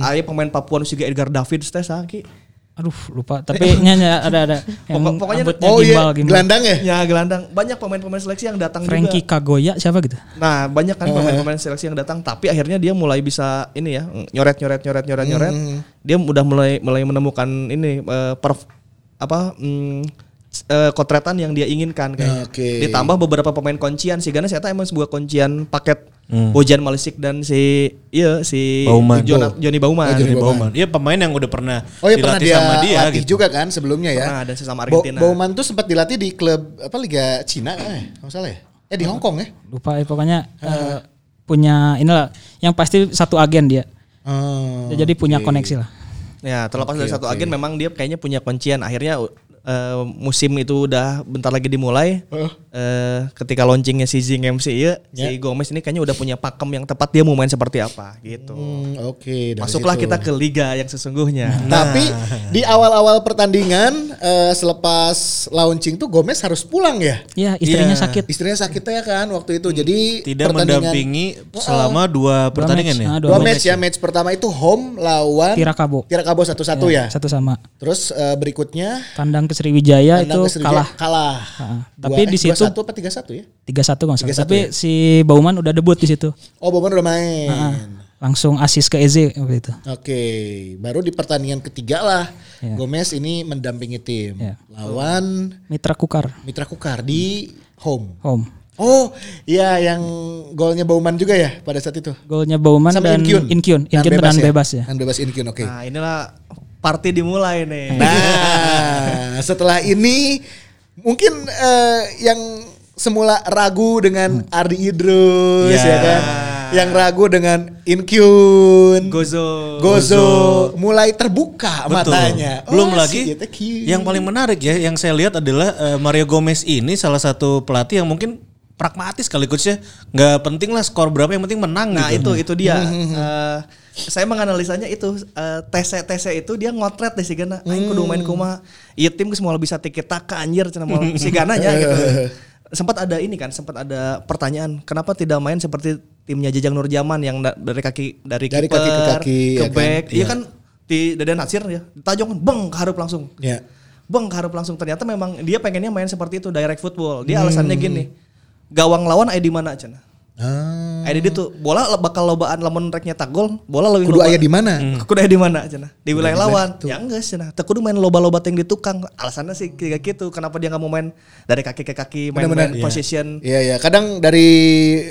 Speaker 2: Akhirnya pemain Papua nu juga Edgar David teh saki.
Speaker 5: Aduh lupa tapi (laughs) nyanya ada ada yang
Speaker 2: Pokok- pokoknya-
Speaker 5: rambutnya
Speaker 3: Oh
Speaker 5: gimbal
Speaker 3: iya,
Speaker 5: gimbal.
Speaker 3: gelandang ya.
Speaker 2: Ya gelandang, banyak pemain-pemain seleksi yang datang
Speaker 5: Frankie
Speaker 2: juga.
Speaker 5: Kagoya siapa gitu?
Speaker 2: Nah, banyak kan pemain-pemain seleksi yang datang, tapi akhirnya dia mulai bisa ini ya, nyoret-nyoret nyoret-nyoret nyoret. Dia udah mulai mulai menemukan ini eh, perf- apa mm, s- eh, kotretan yang dia inginkan kayaknya.
Speaker 3: Oke.
Speaker 2: Ditambah beberapa pemain kuncian sih, karena saya tahu emang sebuah kuncian paket Bojan Malisik dan si iya si
Speaker 4: Bauman.
Speaker 2: Jonat- Joni Bauman.
Speaker 4: Dari Bauman. Iya pemain yang udah pernah
Speaker 3: Oh iya pernah
Speaker 4: dilatih
Speaker 3: dia,
Speaker 4: sama dia
Speaker 3: latih
Speaker 4: gitu.
Speaker 3: juga kan sebelumnya ya.
Speaker 2: Pernah, dan sesama
Speaker 3: Bo-
Speaker 2: Argentina.
Speaker 3: Bauman tuh sempat dilatih di klub apa Liga Cina kan ya? Kalau nggak salah ya? Eh di Hong Kong ya?
Speaker 5: Lupa eh, pokoknya
Speaker 3: Ah.
Speaker 5: eh, punya inilah yang pasti satu agen dia.
Speaker 3: Hmm.
Speaker 5: Dia jadi punya koneksi lah.
Speaker 2: Ya, terlepas dari satu agen memang dia kayaknya punya kuncian. Akhirnya eh, musim itu udah bentar lagi dimulai. Eh, ketika launchingnya si Zing MC ya, si Gomez ini kayaknya udah punya pakem yang tepat dia mau main seperti apa gitu.
Speaker 3: Hmm, Oke. dari
Speaker 2: Masuklah
Speaker 3: situ. Nah.
Speaker 2: kita ke liga yang sesungguhnya.
Speaker 3: Tapi di awal-awal pertandingan eh, selepas launching tuh Gomez harus pulang ya.
Speaker 5: Iya istrinya
Speaker 4: Iya.
Speaker 5: sakit.
Speaker 3: Istrinya sakitnya kan waktu itu. Jadi
Speaker 4: Tidak
Speaker 3: pertandingan-
Speaker 4: mendampingi selama dua pertandingan
Speaker 5: match.
Speaker 4: ya.
Speaker 5: Ah,
Speaker 3: dua, match ya. Match pertama itu home lawan
Speaker 5: Tirakabo.
Speaker 3: Tirakabo satu-satu ya.
Speaker 5: Iya, Satu sama.
Speaker 3: Terus eh, berikutnya
Speaker 5: Tandang ke Sriwijaya
Speaker 3: tandang
Speaker 5: Nah, itu
Speaker 3: ke Sriwijaya,
Speaker 5: kalah
Speaker 3: Kalah. eh,
Speaker 5: Ah, tapi di situ-
Speaker 3: satu apa tiga satu ya?
Speaker 5: 3-1 nggak salah.
Speaker 3: 3-1
Speaker 5: Tapi si Bauman udah debut di situ. Nah,
Speaker 3: Oh Bobon udah main.
Speaker 5: langsung asis ke Eze waktu itu.
Speaker 3: Oke, baru di pertandingan ketiga lah Gomez ini mendampingi tim
Speaker 5: Iya.
Speaker 3: lawan
Speaker 5: Mitra Kukar
Speaker 3: Mitra Kukar di home.
Speaker 5: home.
Speaker 3: Oh, iya yang golnya Bauman juga ya pada saat itu.
Speaker 5: Golnya Bauman
Speaker 3: Sama
Speaker 5: dan Inkyun. Inkyun,
Speaker 3: Dan
Speaker 5: dan bebas ya.
Speaker 3: Dan bebas Inkyun, oke.
Speaker 2: Nah inilah party dimulai nih.
Speaker 3: Nah, setelah ini mungkin eh, yang semula ragu dengan Ardi Idrus ya
Speaker 4: Ya.
Speaker 3: kan, yang ragu dengan Inkyun,
Speaker 2: Gozo.
Speaker 3: Gozo mulai terbuka
Speaker 4: Betul.
Speaker 3: matanya.
Speaker 4: Belum
Speaker 3: Oh,
Speaker 4: lagi
Speaker 3: si Yeta cute.
Speaker 4: yang paling menarik ya yang saya lihat adalah eh, Mario Gomez ini salah satu pelatih yang mungkin pragmatis kali coachnya nggak penting lah skor berapa yang penting menang
Speaker 2: Nah
Speaker 4: gitu.
Speaker 2: itu itu dia.
Speaker 3: Hmm,
Speaker 2: Eh, saya menganalisanya itu eh, TC TC itu dia ngotret deh si Gana. Aing kudu main
Speaker 3: Hmm.
Speaker 2: kuma. Iya tim geus moal bisa tiki taka anjir cenah moal si Gana nya
Speaker 3: (laughs)
Speaker 2: gitu. Sempat ada ini kan, sempat ada pertanyaan, kenapa tidak main seperti timnya Jajang Nurjaman yang da- dari kaki dari,
Speaker 3: Dari
Speaker 2: kiper,
Speaker 3: kaki ke kaki,
Speaker 2: ke
Speaker 3: ya kan?
Speaker 2: back. Iya kan di Dadan Hatsir ya. Tajong beng harap langsung.
Speaker 3: Ya.
Speaker 2: Bang harap langsung ternyata memang dia pengennya main seperti itu direct football.
Speaker 3: Hmm.
Speaker 2: Dia alasannya gini. Gawang lawan aya di mana cenah?
Speaker 3: Ah,
Speaker 2: Ada di Eh, tuh bola le- bakal lobaan lamun reknya tak gol, bola leuwih
Speaker 3: kudu
Speaker 2: loba-
Speaker 3: ayah di mana?
Speaker 4: Hmm.
Speaker 2: Kudu aya di mana cenah? Di wilayah lawan. Ya enggak cenah. Teu kudu main loba-loba ting di tukang. Alasannya sih kayak gitu. Kenapa dia nggak mau main dari kaki ke kaki, main,
Speaker 3: Benar-benar.
Speaker 2: main position
Speaker 3: Iya ya, kadang dari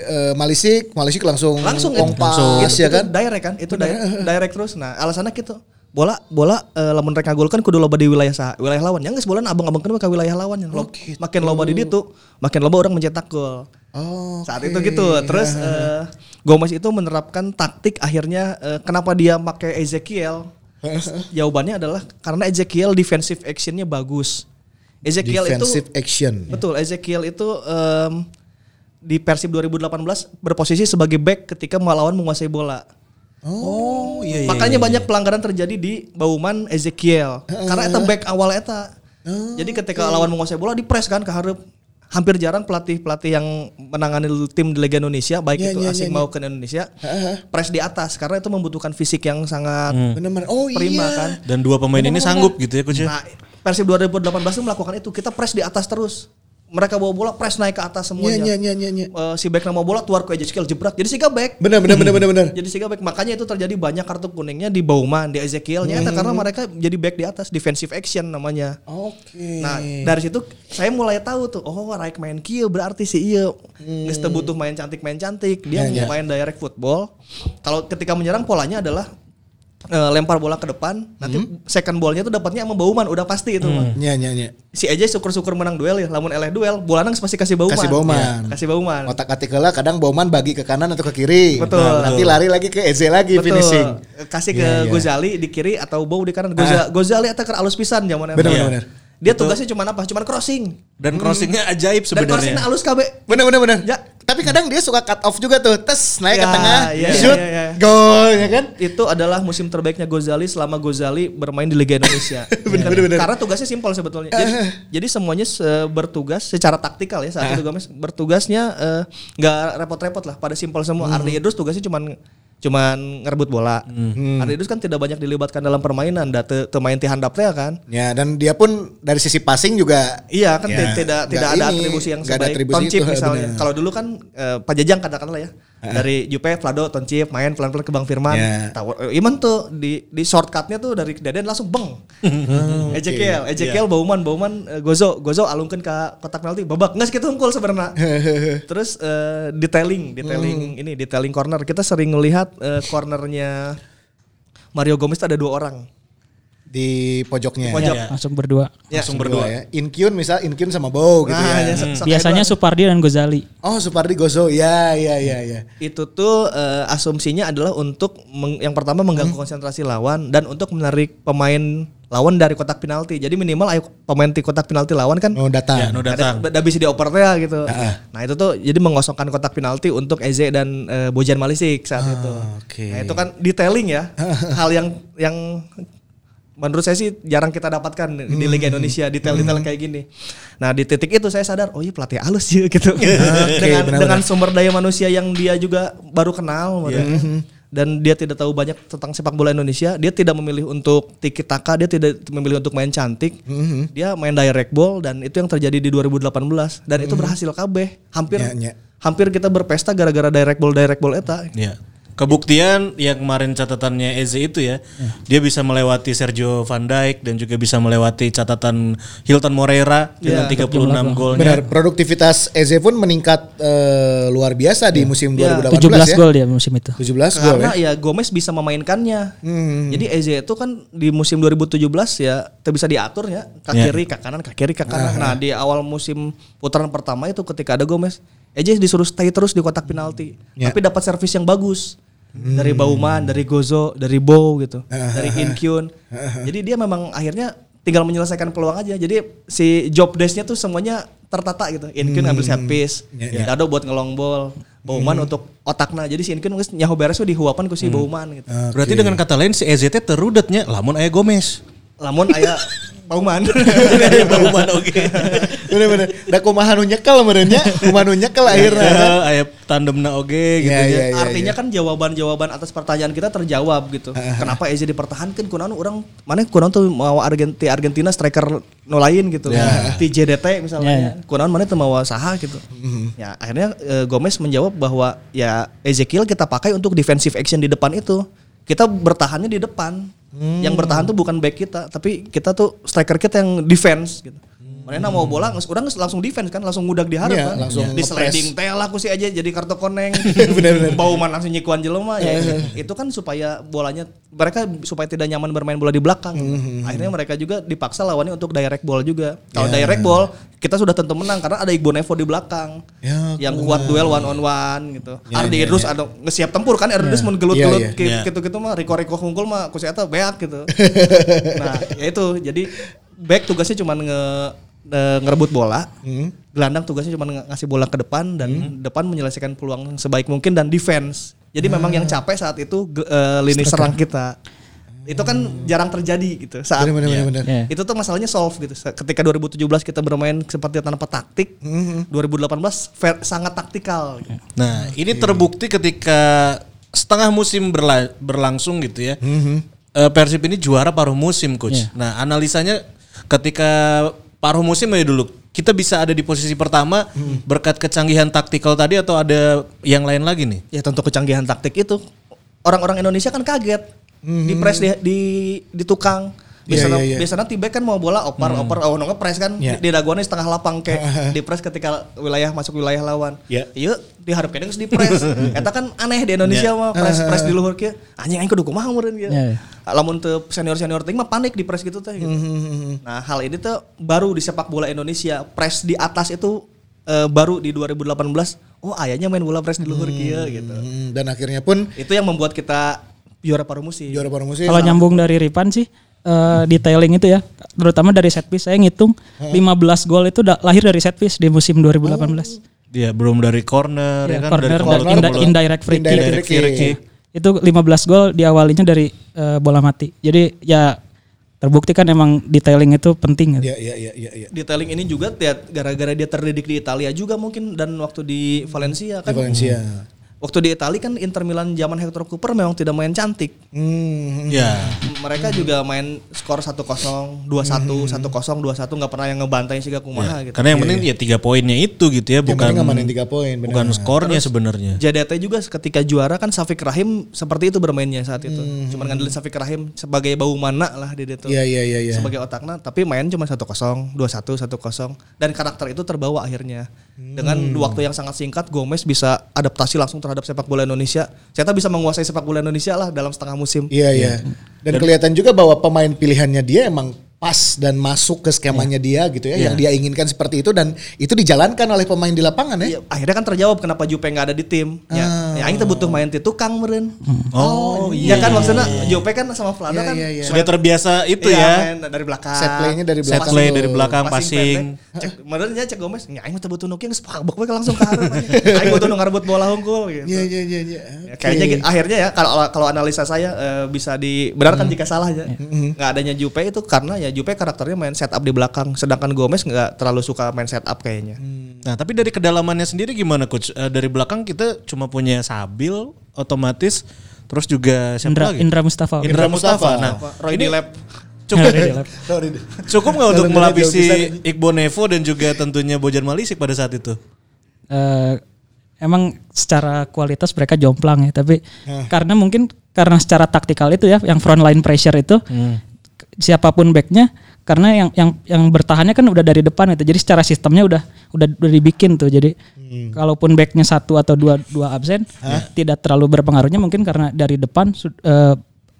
Speaker 3: eh, Malisik, Malisik langsung
Speaker 2: langsung itu-
Speaker 3: kompas
Speaker 2: itu,
Speaker 3: ya
Speaker 2: itu
Speaker 3: kan.
Speaker 2: direct kan? Itu direct, direct terus. Nah, alasannya gitu. Bola bola eh, lamun rek ngagol kan kudu loba di wilayah sa, wilayah lawan. Ya geus bola na abang-abang kan ke wilayah lawan. Lo-
Speaker 3: gitu.
Speaker 2: Makin loba di ditu, makin loba orang mencetak gol.
Speaker 3: Oh,
Speaker 2: saat itu gitu terus eh, Gomez itu menerapkan taktik akhirnya eh, kenapa dia pakai Ezekiel jawabannya adalah karena Ezekiel defensive actionnya bagus Ezekiel
Speaker 3: defensive
Speaker 2: itu
Speaker 3: action.
Speaker 2: betul Ezekiel itu em, di Persib 2018 berposisi sebagai back ketika melawan menguasai bola
Speaker 4: oh iya iya.
Speaker 2: makanya banyak pelanggaran terjadi di Bauman Ezekiel karena eta back awal eta jadi ketika lawan menguasai bola di press kan ke hareup. hampir jarang pelatih pelatih yang menangani tim di Liga Indonesia baik
Speaker 3: Iya,
Speaker 2: itu
Speaker 3: iya,
Speaker 2: asing
Speaker 3: iya,
Speaker 2: maupun Indonesia press di atas karena itu membutuhkan fisik yang sangat
Speaker 3: Benar-benar. Oh
Speaker 2: prima
Speaker 3: iya.
Speaker 2: kan
Speaker 4: dan dua pemain ini sanggup gitu ya coachnya.
Speaker 2: nah Persib 2018 itu melakukan itu kita press di atas terus mereka bawa bola press naik ke atas
Speaker 3: Iya
Speaker 2: semuanya
Speaker 3: iya iya iya. iya.
Speaker 2: Eh, si back nama bola keluar ke Ezekiel jebrak jadi si back
Speaker 3: Benar benar benar benar benar.
Speaker 2: jadi sehingga back makanya itu terjadi banyak kartu kuningnya di Bauman, di Ezekielnya
Speaker 3: Hmm.
Speaker 2: Eta karena mereka jadi back di atas defensive action namanya.
Speaker 3: Oke.
Speaker 2: Nah, dari situ saya mulai tahu tuh, oh Raik main kieu berarti si iya
Speaker 3: Hmm.
Speaker 2: geus teu butuh main cantik-main cantik. Dia
Speaker 3: Ya,
Speaker 2: mau main direct football. Kalau ketika menyerang polanya adalah eh, lempar bola ke depan, nanti
Speaker 3: Hmm.
Speaker 2: second ballnya tuh dapatnya sama Bauman udah pasti itu. mah.
Speaker 3: Iya iya iya.
Speaker 2: Si aja syukur-syukur menang duel ya, lamun eleh duel, bola nang pasti kasih Bauman.
Speaker 3: Kasih Bauman.
Speaker 2: Ya, kasih Bauman.
Speaker 3: Otak atik heula kadang Bauman bagi ke kanan atau ke kiri. Nah,
Speaker 2: Betul.
Speaker 3: nanti lari lagi ke Eze lagi finishing.
Speaker 2: Kasih ke
Speaker 3: Iya, iya. Ah.
Speaker 2: Gozali di kiri atau Bow di kanan. Goza- Gozali atau ke alus pisan zaman
Speaker 3: Benar,
Speaker 2: Iya.
Speaker 3: benar, benar.
Speaker 2: Dia tugasnya cuma apa? Cuma crossing.
Speaker 4: Dan crossingnya ajaib
Speaker 2: Dan crossingnya
Speaker 4: sebenarnya.
Speaker 2: alus KB.
Speaker 3: Benar benar benar.
Speaker 2: Ya.
Speaker 3: Tapi kadang dia suka cut off juga tuh. Tes naik ke
Speaker 2: Ya,
Speaker 3: tengah,
Speaker 2: iya,
Speaker 3: shoot,
Speaker 2: iya, iya.
Speaker 3: gol ya kan?
Speaker 2: Itu adalah musim terbaiknya Gozali selama Gozali bermain di Liga Indonesia.
Speaker 3: (laughs) Benar,
Speaker 2: Karena-
Speaker 3: benar, benar. Ah.
Speaker 2: Karena tugasnya simpel sebetulnya. Jadi, jadi semuanya se- bertugas secara taktikal ya saat itu Gomez bertugasnya eh, nggak repot-repot lah pada simpel semua.
Speaker 3: Hmm.
Speaker 2: Ardi Idrus tugasnya cuman cuman ngerebut bola.
Speaker 3: Hmm.
Speaker 2: Ardi Idrus kan tidak banyak dilibatkan dalam permainan, da teu teu main ti handap teh kan.
Speaker 3: Ya, dan dia pun dari sisi passing juga
Speaker 2: Iya kan
Speaker 3: Ya,
Speaker 2: ti- tidak
Speaker 3: nggak
Speaker 2: tidak ada
Speaker 3: ini,
Speaker 2: atribusi yang
Speaker 3: nggak ada
Speaker 2: sebaik
Speaker 3: atribusi
Speaker 2: toncip
Speaker 3: itu, eh,
Speaker 2: misalnya.
Speaker 3: benar.
Speaker 2: Kalau dulu kan eh, Pak Jajang katakanlah ya dari Jupe, Vlado, Toncip main pelan-pelan ke Bang Firman.
Speaker 3: Ya.
Speaker 2: Tawar, eh, Iman tuh di di shortcutnya tuh dari Deden langsung beng.
Speaker 3: Hmm.
Speaker 2: Ezekiel, Ezekiel
Speaker 3: Iya.
Speaker 2: Bauman, Bauman eh, Gozo, Gozo alungkeun ke kotak penalti babak nggak segitu unggul
Speaker 3: (laughs)
Speaker 2: sebenarnya. Terus eh, detailing,
Speaker 3: Hmm.
Speaker 2: detailing ini detailing corner kita sering melihat eh, cornernya Mario Gomez tuh ada dua orang.
Speaker 3: di pojoknya. Ya.
Speaker 2: Pojok.
Speaker 5: Langsung berdua.
Speaker 3: langsung berdua ya. Inkyun misal Inkyun sama Bow gitu
Speaker 2: Nah, ya,
Speaker 3: ya.
Speaker 2: se- se-
Speaker 5: Biasanya Supardi dan Gozali.
Speaker 3: Oh, Supardi Gozo. Ya, ya, ya, ya.
Speaker 2: itu tuh eh, asumsinya adalah untuk meng- yang pertama mengganggu konsentrasi lawan dan untuk menarik pemain lawan dari kotak penalti. Jadi minimal ayo pemain di kotak penalti lawan kan
Speaker 3: Oh, datang.
Speaker 4: Ya, no datang.
Speaker 2: udah bisa dioper teh gitu. Nah, itu tuh jadi mengosongkan kotak penalti untuk Eze dan eh, Bojan Malisik saat itu.
Speaker 3: Ah, oke.
Speaker 2: Nah, itu kan detailing
Speaker 3: (laughs)
Speaker 2: ya. hal yang yang menurut saya sih jarang kita dapatkan di
Speaker 3: Hmm.
Speaker 2: Liga Indonesia detail-detail kayak gini. Nah, di titik itu saya sadar, oh iya pelatih halus sih (laughs) gitu. dengan
Speaker 3: Ah, benar-benar.
Speaker 2: dengan sumber daya manusia yang dia juga baru kenal
Speaker 3: Iya.
Speaker 2: makanya.
Speaker 3: Hmm.
Speaker 2: dan dia tidak tahu banyak tentang sepak bola Indonesia dia tidak memilih untuk tiki taka dia tidak memilih untuk main cantik
Speaker 3: Mm-hmm.
Speaker 2: dia main direct ball dan itu yang terjadi di 2018 dan
Speaker 3: Mm-hmm.
Speaker 2: itu berhasil kabeh hampir
Speaker 3: Ya, ya.
Speaker 2: hampir kita berpesta gara-gara direct ball direct ball eta
Speaker 4: Iya. Kebuktian yang kemarin catatannya Eze itu ya,
Speaker 2: Hmm.
Speaker 4: dia bisa melewati Sergio Van Dijk dan juga bisa melewati catatan Hilton Moreira dengan
Speaker 2: Iya,
Speaker 4: 36 golnya.
Speaker 3: Benar, produktivitas Eze pun meningkat eh, luar biasa di musim 2018 ya.
Speaker 5: 17 gol dia musim itu.
Speaker 3: 17 gol ya. Hmm.
Speaker 2: Karena ya Gomez bisa memainkannya.
Speaker 3: (laughs)
Speaker 2: Jadi Eze itu kan di musim 2017 ya ter- bisa diatur ya kaki
Speaker 4: Iya.
Speaker 2: kiri, kaki kanan, kaki kiri, kaki kanan. Nah, di awal musim putaran pertama itu ketika ada Gomez, Eze disuruh stay terus di kotak penalti.
Speaker 3: Iya.
Speaker 2: Tapi dapat servis yang bagus. Dari Bauman, dari Gozo, dari Bow gitu, dari Inkyun. Jadi dia memang akhirnya tinggal menyelesaikan peluang aja. Jadi si job desk-nya tuh semuanya tertata gitu. Inkyun ngambil set piece, Dado buat ngelong ball, Bauman untuk otakna. Jadi si Inkyun geus nyaho beres we dihuapan ku si Bauman gitu.
Speaker 4: Berarti dengan kata lain si Eze teh terudetnya lamun aya Gomez.
Speaker 2: Lamun aya Bauman.
Speaker 4: Aya Bauman
Speaker 2: (laughs)
Speaker 4: oge.
Speaker 3: Bener-bener. Da kumaha nu nyekel meureunnya, kumaha nu nyekel
Speaker 4: Iya,
Speaker 3: akhirnya.
Speaker 4: Aya tandemna oge gitu
Speaker 3: Iya,
Speaker 4: ya.
Speaker 3: iya, iya.
Speaker 2: Artinya kan jawaban-jawaban atas pertanyaan kita terjawab gitu. Kenapa Eze dipertahankan? Kunaon orang mana kunaon tuh mau Argentina Argentina striker no lain gitu. Di JDT misalnya.
Speaker 5: Ya, ya.
Speaker 2: Kunaon mana tuh mau saha gitu. Ya akhirnya eh, Gomez menjawab bahwa ya Ezekiel kita pakai untuk defensive action di depan itu. Kita bertahannya di depan. Yang bertahan tuh bukan back kita, tapi kita tuh striker kita yang defense gitu. Mana mau bola, nges- orang nges- langsung defense kan, langsung ngudag di harap
Speaker 3: Iya,
Speaker 2: kan.
Speaker 3: langsung
Speaker 2: di
Speaker 3: nge-press.
Speaker 2: sliding tel aku sih aja jadi kartu
Speaker 3: (laughs)
Speaker 2: koneng. Bauman langsung nyikuan jelema ya.
Speaker 3: Iya.
Speaker 2: itu kan supaya bolanya mereka supaya tidak nyaman bermain bola di belakang.
Speaker 3: Mm-hmm.
Speaker 2: Akhirnya mereka juga dipaksa lawannya untuk direct ball juga. Kalau
Speaker 3: Iya.
Speaker 2: direct ball kita sudah tentu menang karena ada Igbo Nevo di belakang.
Speaker 3: Ya,
Speaker 2: yang kuat duel one on one gitu. Ardi Idrus ada ngesiap tempur kan Ardi Idrus mun gelut-gelut
Speaker 3: Iya, iya.
Speaker 2: ki-
Speaker 4: Iya.
Speaker 2: gitu-gitu mah riko-riko hungkul mah ku si eta beak
Speaker 3: (laughs)
Speaker 2: gitu. nah, ya itu. Jadi back tugasnya cuman nge nge- ngerebut bola.
Speaker 3: Hmm.
Speaker 2: Gelandang tugasnya cuma ngasih bola ke depan dan depan menyelesaikan peluang sebaik mungkin dan defense. Jadi memang yang
Speaker 3: Ah.
Speaker 2: capek saat itu ge- eh, lini serang kita. Itu kan jarang terjadi gitu saat
Speaker 3: Hmm. Bener, bener, bener, bener.
Speaker 5: Iya.
Speaker 2: itu tuh masalahnya solve gitu. Sa- Ketika 2017 kita bermain seperti tanpa taktik,
Speaker 3: Hmm,
Speaker 2: 2018 ver- sangat taktikal.
Speaker 3: Ya.
Speaker 2: Gitu.
Speaker 4: Nah, ini
Speaker 3: Iya.
Speaker 4: terbukti ketika setengah musim berla- berlangsung gitu ya.
Speaker 3: Mhm.
Speaker 4: Eh, Persib ini juara paruh musim, coach. Nah, analisanya ketika paruh musim aja dulu, kita bisa ada di posisi pertama
Speaker 3: Mhm.
Speaker 4: berkat kecanggihan taktikal tadi atau ada yang lain lagi nih?
Speaker 2: Ya tentu kecanggihan taktik itu orang-orang Indonesia kan kaget di press di di, di tukang. Biasanya
Speaker 3: Mhm. iya, iya.
Speaker 2: biasanya Tibet kan mau bola opar oper oh no ngepres kan
Speaker 3: Iya.
Speaker 2: di daguannya setengah lapang
Speaker 3: (laughs)
Speaker 2: kayak di press ketika wilayah masuk wilayah lawan.
Speaker 4: Iya.
Speaker 2: Iya, diharapkan geus di press.
Speaker 3: (laughs)
Speaker 2: Eta kan aneh di Indonesia
Speaker 3: Iya.
Speaker 2: mah press press di luhur kieu. Anjing aing kudu kumaha meureun kieu.
Speaker 5: Iya, iya.
Speaker 2: Lamun teu senior-senior ting mah panik di press gitu teh gitu.
Speaker 3: Mhm. Hmm.
Speaker 2: Nah, hal ini tuh baru di sepak bola Indonesia, press di atas itu eh, baru di 2018. Oh, ayahnya main bola press di luhur kieu gitu.
Speaker 3: Hmm, Dan akhirnya pun
Speaker 2: Itu yang membuat kita juara paruh musim.
Speaker 3: juara baru musim.
Speaker 5: Kalau nyambung dari Ripan sih eh, detailing itu ya, terutama dari set piece saya ngitung 15 gol itu da- lahir dari set piece di musim 2018.
Speaker 4: Dia belum dari corner,
Speaker 3: Iya,
Speaker 4: ya
Speaker 5: Ya,
Speaker 4: Oh. Iya, kan?
Speaker 5: corner
Speaker 4: dari
Speaker 5: dan
Speaker 4: corner,
Speaker 5: indi-
Speaker 4: bola-
Speaker 5: indirect free kick.
Speaker 3: Indirect free
Speaker 4: Free kick.
Speaker 3: kick.
Speaker 5: Itu 15 gol diawalinya dari eh, bola mati. Jadi ya terbukti kan emang detailing itu penting. gitu.
Speaker 3: Iya, iya, iya, iya, iya.
Speaker 2: Detailing ini juga tiap- gara-gara dia terdidik di Italia juga mungkin dan waktu di Valencia
Speaker 3: Di
Speaker 2: kan.
Speaker 3: Valencia.
Speaker 2: Waktu di Italia kan Inter Milan zaman Hector Cooper memang tidak main cantik.
Speaker 3: Hmm. Hmm.
Speaker 4: Ya.
Speaker 2: Mereka juga main skor 1-0, 2-1, 1-0, 2-1 nggak pernah yang ngebantai Siga
Speaker 3: Ah, Iya.
Speaker 2: Kumaha gitu.
Speaker 4: Karena yang penting ya tiga poinnya itu gitu ya,
Speaker 3: Yang penting
Speaker 4: bukan
Speaker 3: ngamanin 3 poin, benar.
Speaker 4: bukan skornya sebenarnya.
Speaker 2: JDT juga ketika juara kan Safik Rahim seperti itu bermainnya saat itu. Cuman ngandelin Safik Rahim sebagai bau mana lah di itu.
Speaker 3: Iya, iya, iya, iya.
Speaker 2: Sebagai otaknya tapi main cuma 1-0, 2-1, 1-0 dan karakter itu terbawa akhirnya. Dengan waktu yang sangat singkat Gomez bisa adaptasi langsung terhadap sepak bola Indonesia. Saya bisa menguasai sepak bola Indonesia lah dalam setengah musim.
Speaker 3: Iya iya. Dan kelihatan juga bahwa pemain pilihannya dia emang pas dan masuk ke skemanya dia gitu ya, yang dia inginkan seperti itu dan itu dijalankan oleh pemain di lapangan
Speaker 2: Iya,
Speaker 3: ya.
Speaker 2: akhirnya kan terjawab kenapa Jupe nggak ada di tim. Ya, ya aing teh butuh main di tukang meren.
Speaker 4: Oh,
Speaker 2: iya kan maksudnya Jupe kan sama Flanda
Speaker 3: Iya,
Speaker 2: kan
Speaker 3: iya, iya.
Speaker 4: Sudah terbiasa itu
Speaker 2: Iya,
Speaker 4: ya.
Speaker 2: main dari belakang.
Speaker 3: Set play-nya dari
Speaker 4: Set
Speaker 3: belakang.
Speaker 4: play
Speaker 3: tuh.
Speaker 4: dari belakang passing.
Speaker 2: pendek. Cek menurutnya cek Gomez, "Ya aing mah teu butuh nukeun geus pakbek we langsung ke hareup." Aing butuh nu ngarebut bola hungkul gitu.
Speaker 3: Iya iya iya iya.
Speaker 2: Ya, kayaknya gitu. akhirnya ya kalau kalau analisa saya eh, bisa dibenarkan jika salah ya. Nggak adanya Jupe itu karena ya Jupe karakternya main setup di belakang sedangkan Gomez nggak terlalu suka main setup kayaknya.
Speaker 4: Nah, tapi dari kedalamannya sendiri gimana coach? Eh, dari belakang kita cuma punya Sabil otomatis terus juga siapa
Speaker 5: Indra,
Speaker 4: lagi?
Speaker 5: Indra Mustafa.
Speaker 4: Indra Mustafa. Nah,
Speaker 2: Roy
Speaker 4: ini
Speaker 2: di lab
Speaker 4: (laughs) cukup
Speaker 3: Sorry. deh.
Speaker 4: cukup nggak untuk
Speaker 3: Dalam
Speaker 4: melapisi
Speaker 3: dunia dia
Speaker 4: Iqbal Nevo dan juga tentunya Bojan Malisik pada saat itu?
Speaker 5: Eh, emang secara kualitas mereka jomplang ya, tapi karena mungkin karena secara taktikal itu ya, yang front line pressure itu siapapun backnya, karena yang yang yang bertahannya kan udah dari depan itu, jadi secara sistemnya udah udah udah dibikin tuh, jadi kalaupun backnya satu atau dua dua absen, tidak terlalu berpengaruhnya mungkin karena dari depan su- eh,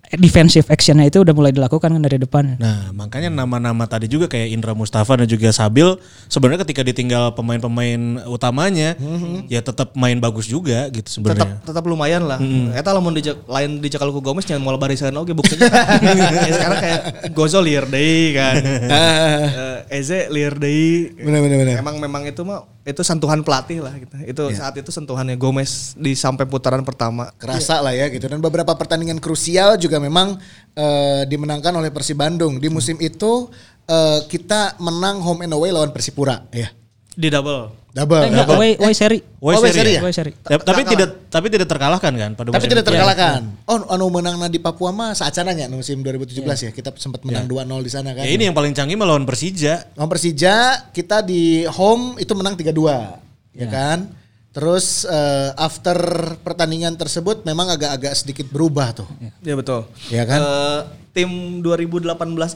Speaker 5: defensive actionnya itu udah mulai dilakukan kan dari depan.
Speaker 4: Nah, makanya nama-nama tadi juga kayak Indra Mustafa dan juga Sabil sebenarnya ketika ditinggal pemain-pemain utamanya ya tetap main bagus juga gitu
Speaker 2: tetap
Speaker 4: sebenarnya.
Speaker 2: tetap lumayan lah. Ya, Eta lamun di lain di Cakaluku Gomez yang mau barisan oke buktinya. (laughs) Ya, sekarang kayak Gozo liar deui kan. Eh, Eze liar deui.
Speaker 3: Bener, bener, bener.
Speaker 2: Emang memang itu mah itu sentuhan pelatih lah gitu. Itu saat itu sentuhannya Gomez di sampai putaran pertama.
Speaker 3: kerasa lah ya gitu dan beberapa pertandingan krusial juga memang eh, dimenangkan oleh Persib Bandung di musim itu eh, kita menang home and away lawan Persipura ya
Speaker 2: Di double.
Speaker 3: double,
Speaker 5: Eh, enggak,
Speaker 3: double.
Speaker 5: away, away seri.
Speaker 3: Oh,
Speaker 4: Woi
Speaker 3: woi, seri
Speaker 4: seri
Speaker 3: ya?
Speaker 4: ya?
Speaker 5: Away seri.
Speaker 4: Ta- Tapi tidak tapi tidak terkalahkan kan pada
Speaker 3: tapi
Speaker 4: musim
Speaker 3: tidak
Speaker 4: itu?
Speaker 3: terkalahkan oh anu menangna di Papua mah saacananya musim 2017 ya kita sempat menang 2-0 di sana kan
Speaker 4: Ya ini yang paling canggih melawan Persija.
Speaker 3: Lawan Persija kita di home itu menang 3-2 ya kan terus eh, after pertandingan tersebut memang agak-agak sedikit berubah tuh
Speaker 2: Ya betul.
Speaker 3: Iya kan?
Speaker 2: Eh, tim 2018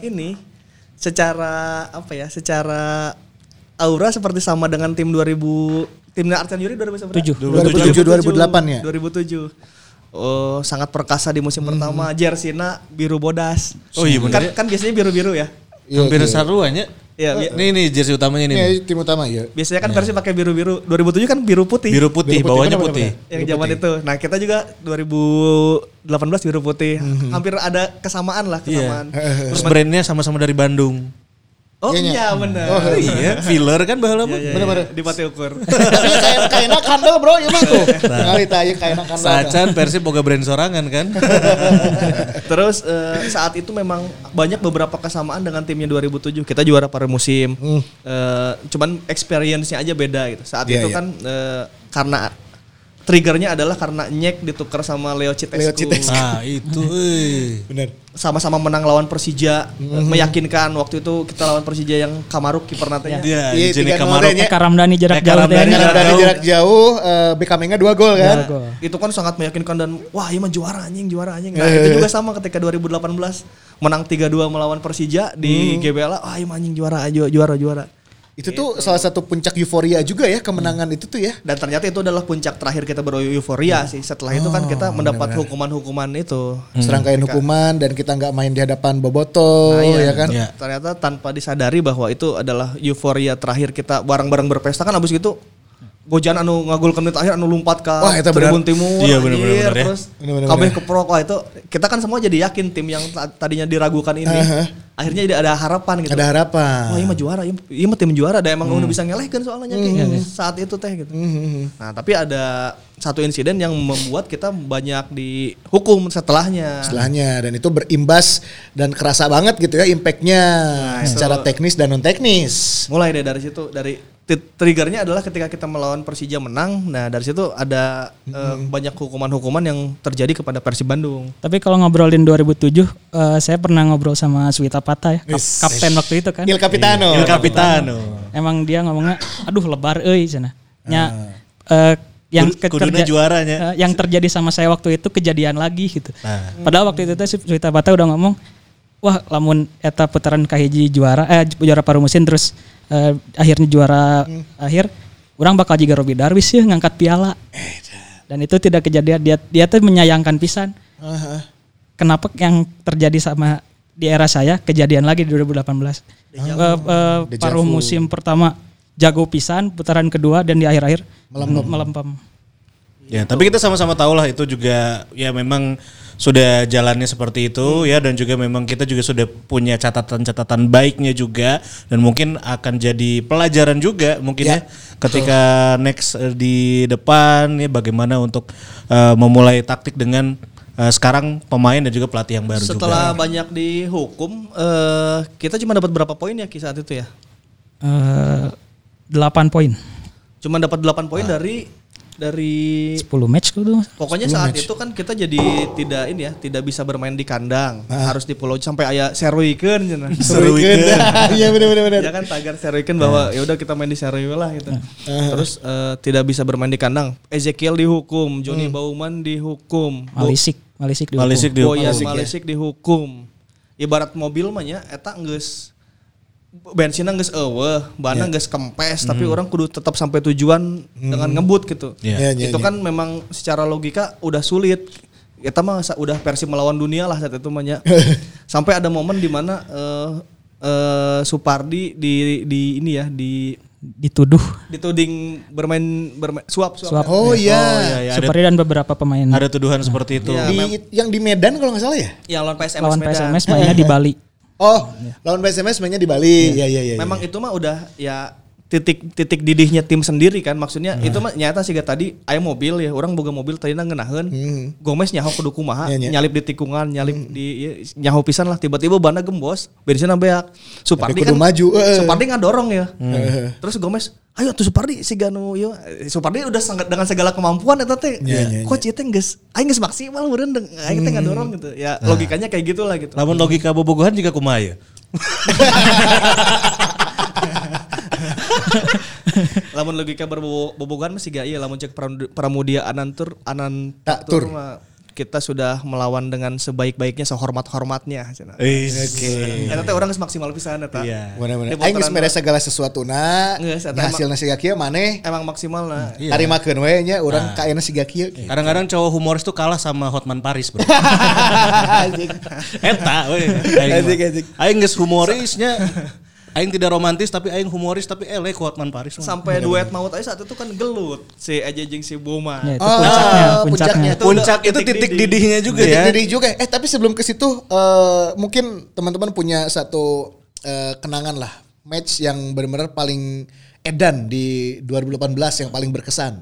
Speaker 2: ini secara apa ya? Secara aura seperti sama dengan tim 2000 timnya Arcan Yuri 2007
Speaker 3: 2007 2008 ya
Speaker 2: 2007. Oh, sangat perkasa di musim pertama. Jersina biru bodas.
Speaker 4: Oh iya bener
Speaker 2: Kan, kan biasanya biru-biru ya.
Speaker 4: Hampir seruannya.
Speaker 2: Iya, bi-
Speaker 4: Ini nih jersey utamanya ini.
Speaker 3: Ini
Speaker 4: nih.
Speaker 3: tim utama ya
Speaker 2: biasanya kan versi pakai biru-biru. 2007 kan biru putih.
Speaker 4: Biru putih, bawahnya
Speaker 3: kenapa,
Speaker 4: putih.
Speaker 3: kenapa?
Speaker 2: yang zaman itu. Nah, kita juga 2018 biru putih.
Speaker 3: Hmm.
Speaker 2: Hampir ada kesamaan
Speaker 3: Iya.
Speaker 2: lah,
Speaker 3: (laughs)
Speaker 2: kesamaan.
Speaker 4: Iya. Terus brandnya sama-sama dari Bandung.
Speaker 2: Oh iya benar.
Speaker 4: Oh iya, filler kan bahala mah.
Speaker 2: Benar-benar di Pati
Speaker 3: (laughs)
Speaker 2: Ukur.
Speaker 3: Tapi kain kainnya kandel bro, ya mah tuh. Ngali tanya kainnya kandel.
Speaker 4: Sacan Persib boga brand sorangan (laughs) kan.
Speaker 2: Terus eh, saat itu memang banyak beberapa kesamaan dengan timnya 2007. Kita juara pada musim. Eh, cuman experience-nya aja beda gitu. Saat
Speaker 3: Hmm. Iya,
Speaker 2: itu
Speaker 3: iya.
Speaker 2: kan eh, karena triggernya adalah karena Nyek ditukar sama Leo Citescu.
Speaker 3: Leo Citescu.
Speaker 4: Nah, itu euy.
Speaker 3: Bener.
Speaker 2: Sama-sama menang lawan Persija. Eh,
Speaker 3: Hmm.
Speaker 2: Meyakinkan waktu itu kita lawan Persija yang Kamaru kiper nantinya.
Speaker 4: Iya,
Speaker 3: Iya,
Speaker 4: Jenny
Speaker 3: 3-0
Speaker 4: Kamaro.
Speaker 3: deh, Nye.
Speaker 5: Karamdani jarak
Speaker 4: Eh,
Speaker 5: jauh ya.
Speaker 4: Karamdani
Speaker 5: deh.
Speaker 3: Karena
Speaker 4: jarak
Speaker 3: dari
Speaker 4: jauh.
Speaker 3: jarak jauh, eh, Bekamnya dua gol kan.
Speaker 5: Jago.
Speaker 2: (laughs) itu kan sangat meyakinkan dan wah ini mah juara anjing juara anjing nah itu juga sama ketika 2018 menang 3-2 melawan Persija di GBL wah ini mah anjing juara ayo juara juara
Speaker 3: Itu tuh salah satu puncak euforia juga ya kemenangan itu tuh ya.
Speaker 2: dan ternyata itu adalah puncak terakhir kita bereuforia sih setelah itu kan kita mendapat hukuman-hukuman itu
Speaker 3: Serangkaian hukuman dan kita nggak main di hadapan Boboto ya kan.
Speaker 4: Iya.
Speaker 2: ternyata tanpa disadari bahwa itu adalah euforia terakhir kita bareng-bareng berpesta kan abis itu Gojan anu ngagul menit akhir anu lompat ke
Speaker 3: Wah, eta
Speaker 2: Tribun
Speaker 3: benar.
Speaker 2: Timur anjir.
Speaker 4: Iya, benar-benar, benar ya.
Speaker 2: terus
Speaker 3: Benar-benar,
Speaker 2: kabeh keprok wah itu kita kan semua jadi yakin tim yang ta- tadinya diragukan ini akhirnya jadi ada harapan gitu
Speaker 3: Ada harapan.
Speaker 2: Wah, iya mah juara, iya- iya mah tim juara, ada emang
Speaker 4: Hmm.
Speaker 2: udah bisa ngelehkan soalnya kayak saat itu teh gitu.
Speaker 3: Hmm,
Speaker 2: Nah, tapi ada satu insiden yang membuat kita banyak dihukum setelahnya.
Speaker 3: Setelahnya dan itu berimbas dan kerasa banget gitu ya impactnya
Speaker 2: Nah,
Speaker 3: secara teknis dan non teknis.
Speaker 2: mulai deh dari situ dari ti- triggernya adalah ketika kita melawan Persija menang nah dari situ ada eh, banyak hukuman-hukuman yang terjadi kepada Persib Bandung
Speaker 5: Tapi kalau ngobrolin 2007, eh, saya pernah ngobrol sama Swita Pata ya, kap- kapten waktu itu kan.
Speaker 3: Il Capitano.
Speaker 4: Iya. Il Capitano.
Speaker 5: Emang dia ngomongnya, aduh lebar euy sana. Nya eh, yang
Speaker 4: Kud- kuduna juaranya.
Speaker 5: eh, yang terjadi sama saya waktu itu kejadian lagi gitu.
Speaker 4: Nah.
Speaker 5: Padahal waktu itu teh si Swita Bata udah ngomong, wah lamun eta putaran kahiji juara eh juara paruh musim terus eh, akhirnya juara akhir, orang bakal jiga Robi Darwis ya ngangkat piala. Dan itu tidak kejadian dia dia tuh menyayangkan pisan. Kenapa yang terjadi sama di era saya kejadian lagi di 2018. Eh, eh, paruh musim pertama jago pisan, putaran kedua dan di akhir-akhir mm, melempem.
Speaker 4: Ya, tapi kita sama-sama tahu lah itu juga ya memang sudah jalannya seperti itu ya dan juga memang kita juga sudah punya catatan-catatan baiknya juga dan mungkin akan jadi pelajaran juga mungkin ya, ketika next eh, di depan ya bagaimana untuk eh, memulai taktik dengan eh, sekarang pemain dan juga pelatih yang baru
Speaker 2: setelah
Speaker 4: juga.
Speaker 2: banyak dihukum eh, kita cuma dapat berapa poin ya Ki, saat itu ya
Speaker 5: Eh, 8 poin.
Speaker 2: cuma dapat 8 poin dari dari
Speaker 5: 10 match kalau dulu.
Speaker 2: Pokoknya saat itu kan kita jadi tidak ini ya, tidak bisa bermain di kandang, harus di pulau sampai kan, aya seruikeun cenah.
Speaker 3: Seru weekend. (laughs)
Speaker 2: (laughs)
Speaker 3: Iya benar-benar. benar.
Speaker 2: Ya kan tagar seruikeun bahwa ya udah kita main di seruikeun lah gitu. Terus eh, tidak bisa bermain di kandang. Ezekiel dihukum, Johnny Bauman dihukum, Bo-
Speaker 5: Malisik, Malisik dulu.
Speaker 4: Malisik dihukum.
Speaker 2: Boyan Malisik dihukum. Ibarat mobil mah nya eta geus bensinnya geus eueuh, bahanna geus kempes, tapi orang kudu tetap sampai tujuan dengan ngebut gitu.
Speaker 3: Iya, iya,
Speaker 2: itu kan memang secara logika udah sulit. Kita mah sa- udah versi melawan dunia lah saat itu mah
Speaker 3: (laughs)
Speaker 2: nya. Sampai ada momen di mana eh, eh, Supardi di di ini ya di
Speaker 5: Dituduh
Speaker 2: dituding bermain bermain suap suap.
Speaker 5: suap
Speaker 3: Oh
Speaker 4: Ya,
Speaker 3: iya.
Speaker 4: ya, ada,
Speaker 5: Supari dan beberapa pemain
Speaker 4: ada tuduhan seperti itu.
Speaker 2: Iya.
Speaker 3: Di yang di Medan kalau nggak salah ya?
Speaker 2: Yang Iya, lawan PSMS
Speaker 5: lawan
Speaker 2: Medan.
Speaker 5: PSMS mainnya di (laughs) Bali.
Speaker 3: Oh, lawan PSMS mainnya di Bali. Iya iya iya.
Speaker 2: Memang itu mah udah ya titik titik didihnya tim sendiri kan maksudnya
Speaker 3: Nah.
Speaker 2: itu mah nyata sih tadi aya mobil ya orang boga mobil tadi ngeunaheun Gomez nyaho kudu kumaha
Speaker 3: Hmm. Iya, Hmm. iya.
Speaker 2: nyalip di tikungan nyalip di ieu, nyaho pisan lah tiba-tiba bana gembos bensinna beak Supardi
Speaker 3: Tapi kudu
Speaker 2: kan
Speaker 3: maju, eh. Hmm.
Speaker 2: Supardi ngadorong ya terus Gomez ayo tuh Supardi si Ganu ieu Supardi udah sangat dengan segala kemampuan eta teh
Speaker 3: Iya, Hmm. iya,
Speaker 2: coach ieu teh geus aing geus maksimal meureun deng- aing teh ngadorong gitu ya logikanya kayak gitulah gitu
Speaker 4: Namun logika bobogohan juga kumaha
Speaker 2: (laughs)
Speaker 4: ya?
Speaker 2: lamun logika berbobogan masih gak iya lamun cek Pram- pramudia anantur
Speaker 3: Tak
Speaker 2: anantur
Speaker 3: tur.
Speaker 2: mah kita sudah melawan dengan sebaik-baiknya sehormat-hormatnya cenah.
Speaker 3: Eh.
Speaker 2: Eta teh orang geus maksimal pisan eta.
Speaker 4: Iya.
Speaker 3: Benar-benar.
Speaker 2: Di
Speaker 3: Aing geus
Speaker 2: putaran
Speaker 3: mere segala sesuatu na.
Speaker 2: Ngeus, eta
Speaker 3: Hasil nasi gak maneh.
Speaker 2: Emang maksimal nah. lah.
Speaker 4: Iya.
Speaker 3: Tarima makan we nya
Speaker 4: Ah.
Speaker 3: urang ka ayeuna siga kieu.
Speaker 4: Kadang-kadang cowok humoris tuh kalah sama Hotman Paris, Bro.
Speaker 3: (laughs) Anjing.
Speaker 4: Eta we. Aing
Speaker 3: Asik,
Speaker 4: mah.
Speaker 3: asik.
Speaker 4: Aing geus humorisnya. Aing tidak romantis tapi aing humoris tapi eleh ku Hotman Paris. mah.
Speaker 2: Sampai duet maut aja saat itu kan gelut si Aja jeung si Boma.
Speaker 5: Ya, itu
Speaker 3: Oh, puncaknya.
Speaker 5: puncaknya, puncaknya.
Speaker 2: Itu
Speaker 4: Puncak itu
Speaker 2: titik
Speaker 4: titik
Speaker 2: didih.
Speaker 4: didihnya juga
Speaker 3: Titik
Speaker 4: ya.
Speaker 3: didih juga. Eh tapi sebelum ke situ eh, mungkin teman-teman punya satu eh, kenangan lah match yang benar-benar paling edan di 2018 yang paling berkesan.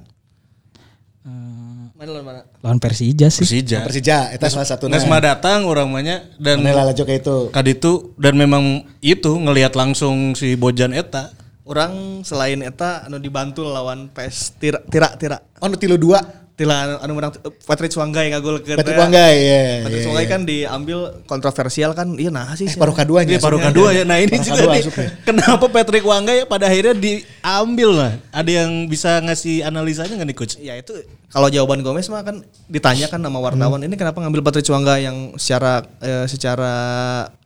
Speaker 2: Mana lawan mana?
Speaker 5: Lawan Persija sih.
Speaker 4: Persija.
Speaker 3: Persija eta salah satu.
Speaker 4: Nesma datang orang manya dan
Speaker 3: Maneh lalajo kayak itu.
Speaker 4: Kan. kaditu dan memang itu ngelihat langsung si Bojan eta.
Speaker 2: Orang selain eta anu dibantu lawan PS Tira Tira Tira.
Speaker 3: Oh nu tilu dua.
Speaker 2: Tila anu- anu menang Patrick Suanggai ngagolkeun.
Speaker 3: Patrick
Speaker 2: ya.
Speaker 3: Wanggai ya.
Speaker 2: Patrick Suanggai kan diambil kontroversial kan. Iya nah sih.
Speaker 3: Eh paruh kaduanya.
Speaker 4: Dia paruh kedua ya. Nah ini
Speaker 3: Paruh
Speaker 4: juga
Speaker 3: kedua
Speaker 4: nih.
Speaker 3: masuknya.
Speaker 4: Kenapa Patrick Wangga ya pada akhirnya diambil lah. Ada yang bisa ngasih analisanya nggak nih coach?
Speaker 2: Ya itu kalau jawaban Gomez mah kan ditanyakan sama wartawan ini kenapa ngambil Patrick Cuangga yang secara eh, secara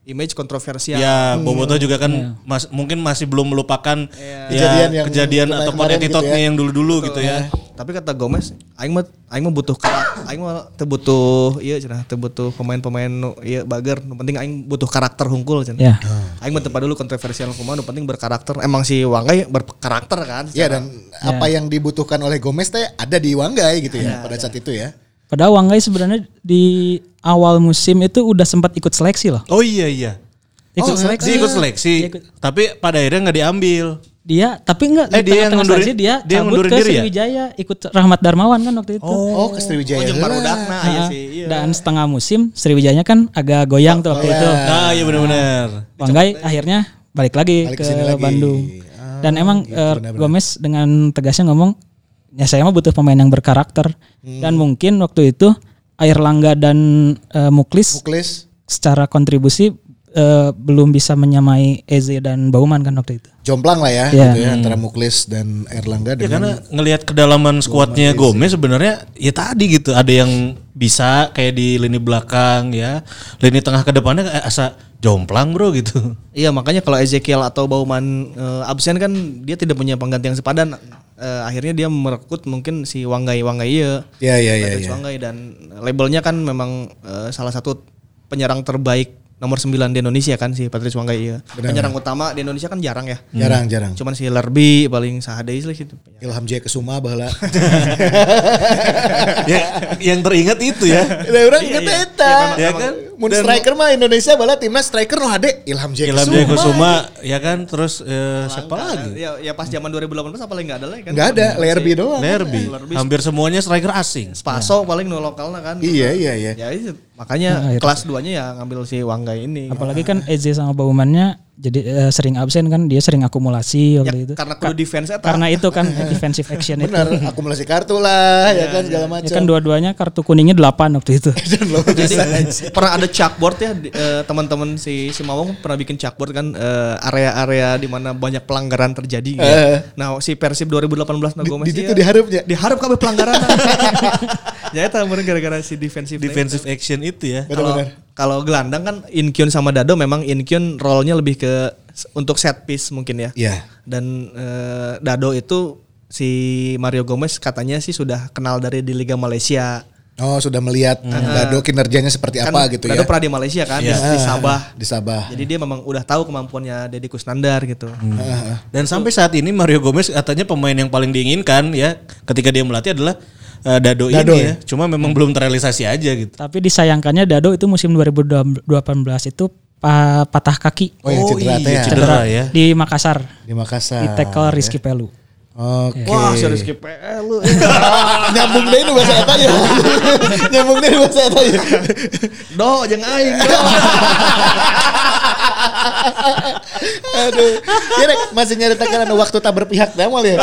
Speaker 2: image kontroversial.
Speaker 4: Ya, Boboto juga kan mas- mungkin masih belum melupakan ya,
Speaker 3: Kejadian
Speaker 4: kejadian,
Speaker 3: yang kemarin-
Speaker 4: ataupun
Speaker 3: kemarin
Speaker 4: attitude-nya
Speaker 3: gitu ya. Iya.
Speaker 4: yang dulu-dulu gitu ya.
Speaker 2: Tapi kata Gomez, aing mah aing mah butuh kar- aing mah teu butuh ieu cenah teu butuh pemain-pemain nu ieu bager, nu penting aing butuh karakter hungkul cenah.
Speaker 5: Ya.
Speaker 2: Aing mah teu dulu kontroversial kumaha, nu penting berkarakter. Emang si Wanggai berkarakter kan.
Speaker 3: Ya dan apa yang dibutuhkan oleh Gomez teh ada di Wanggai gitu ya pada saat itu ya.
Speaker 5: Padahal Wanggai sebenarnya di awal musim itu udah sempat ikut seleksi loh.
Speaker 4: Oh iya iya.
Speaker 5: Ikut
Speaker 4: Dia
Speaker 5: seleksi.
Speaker 4: ikut seleksi, tapi pada akhirnya nggak diambil.
Speaker 5: Dia tapi enggak
Speaker 4: Eh, dia yang
Speaker 5: tengah-tengah
Speaker 4: ngundurin-
Speaker 5: seleksi dia,
Speaker 4: dia yang
Speaker 5: cabut
Speaker 4: ngundurin
Speaker 5: ke
Speaker 4: diri ya?
Speaker 5: Sriwijaya ikut Rahmat Darmawan kan waktu itu.
Speaker 3: Oh, ke Sriwijaya.
Speaker 2: jeung
Speaker 4: iya
Speaker 2: barudakna aya
Speaker 5: Nah,
Speaker 2: si ieu.
Speaker 5: dan setengah musim Sriwijanya kan agak goyang tuh waktu itu.
Speaker 4: Nah, iya benar-benar.
Speaker 5: Wanggai akhirnya balik lagi
Speaker 3: Balik
Speaker 5: ke
Speaker 3: kesini lagi.
Speaker 5: Bandung.
Speaker 4: Ah,
Speaker 5: Dan emang
Speaker 4: gitu,
Speaker 5: eh, Gomez dengan tegasnya ngomong, ya saya mah butuh pemain yang berkarakter.
Speaker 4: Hmm.
Speaker 5: Dan mungkin waktu itu Air Langga dan eh, Muklis
Speaker 3: Muklis,
Speaker 5: secara kontribusi eh, belum bisa menyamai Eze dan Bauman kan waktu itu.
Speaker 3: jomplang lah ya,
Speaker 5: Iya.
Speaker 3: gitu ya antara Muklis dan Erlangga
Speaker 4: Ya
Speaker 3: dengan
Speaker 4: karena ngelihat kedalaman skuadnya
Speaker 3: iya.
Speaker 4: Gomez sebenarnya ya tadi gitu ada yang bisa kayak di lini belakang ya lini tengah ke depannya kayak asa jomplang bro
Speaker 3: (laughs)
Speaker 4: gitu
Speaker 2: Iya makanya kalau Ezekiel atau Bauman eh, absen kan dia tidak punya pengganti yang sepadan. Eh, akhirnya dia merekrut mungkin si Wanggai Wanggai ya.
Speaker 3: Ya ya ya.
Speaker 2: Patrick
Speaker 3: ya.
Speaker 2: Wanggai dan labelnya kan memang eh, salah satu penyerang terbaik nomor 9 di Indonesia kan si Patrick Wanggai ya. Penyerang utama di Indonesia kan jarang ya.
Speaker 3: Jarang jarang.
Speaker 2: Cuman si Lerby paling sahadeis lah gitu.
Speaker 3: Ilham Jaya Kesuma (laughs) baheula.
Speaker 4: ya yang teringat itu ya
Speaker 3: Lah urang inget eta.
Speaker 4: Ya kan?
Speaker 3: Mun striker mah Indonesia bala timnas striker nu hade Ilham Jaya
Speaker 4: Ilham
Speaker 3: Kesuma.
Speaker 4: Jaya Kusuma ya kan terus eh, siapa lagi
Speaker 2: Ya, ya pas zaman 2018 apa lagi nggak ada lagi kan.
Speaker 3: Enggak ada, Lerby doang.
Speaker 4: Derby hampir semuanya striker asing
Speaker 2: Spaso paling no lokalnya kan.
Speaker 3: Iya iya iya.
Speaker 2: Ya itu, makanya
Speaker 5: Nah, itu.
Speaker 2: kelas 2-nya ya ngambil si Wanggai ini.
Speaker 5: Apalagi kan Eze sama Baumannya jadi eh, sering absen kan dia sering akumulasi
Speaker 2: Ya,
Speaker 5: waktu itu.
Speaker 2: karena kudu defense eta.
Speaker 5: Karena itu kan defensive action itu.
Speaker 3: Bener, akumulasi kartu lah, ya kan segala
Speaker 5: Ya
Speaker 3: macam.
Speaker 5: kan
Speaker 3: (laughs)
Speaker 5: dua-duanya kartu kuningnya 8 waktu itu.
Speaker 3: Dan lo
Speaker 2: Jadi
Speaker 3: bisa
Speaker 2: pernah ada chalkboard ya di- eh, teman-teman si si Mawang pernah bikin chalkboard kan eh, area-area di mana banyak pelanggaran terjadi. gitu ya.
Speaker 3: Eh.
Speaker 2: Nah si Persib 2018
Speaker 3: di,
Speaker 2: Nago
Speaker 3: di itu diharapnya.
Speaker 2: diharap kabeh
Speaker 3: (laughs)
Speaker 2: pelanggaran. ya itu mungkin gara-gara si defensive
Speaker 4: defensive action itu ya.
Speaker 2: Kalau
Speaker 3: Benar-benar.
Speaker 2: kalau gelandang kan Inkyun sama Dado memang Inkyun role-nya lebih ke s- untuk set piece mungkin ya.
Speaker 3: Iya.
Speaker 2: Dan eh, Dado itu si Mario Gomez katanya sih sudah kenal dari di Liga Malaysia.
Speaker 3: Oh sudah melihat Dado kinerjanya seperti
Speaker 2: Kan
Speaker 3: apa gitu
Speaker 2: Dado
Speaker 3: ya Iya.
Speaker 2: pernah di Malaysia kan di- di, Sabah.
Speaker 3: Ah, di Sabah.
Speaker 2: Jadi dia memang udah tahu kemampuannya Deddy Kusnandar gitu.
Speaker 3: Ah,
Speaker 4: Dan sampai saat ini Mario Gomez katanya pemain yang paling diinginkan ya ketika dia melatih adalah eh, Dado,
Speaker 3: Dado ya?
Speaker 4: ini ya. Cuma memang belum terrealisasi aja gitu.
Speaker 5: Tapi disayangkannya Dado itu musim 2018 itu pa- patah kaki
Speaker 3: Oh, yang cedera teh ya?
Speaker 4: cedera ya.
Speaker 5: di Makassar
Speaker 3: di Makassar.
Speaker 5: di tackle
Speaker 3: iya.
Speaker 5: Rizky Pelu.
Speaker 3: Oke.
Speaker 2: Wah, serius KPL lu.
Speaker 3: (laughs) Nyambung deh ini bahasa
Speaker 2: (laughs)
Speaker 3: eta ya. Nyambung deh ini bahasa eta ya.
Speaker 2: Do, jeung aing. do.
Speaker 3: Aduh. Ya Rek, masih nyari tekanan waktu tak berpihak damel
Speaker 2: (laughs)
Speaker 3: ya.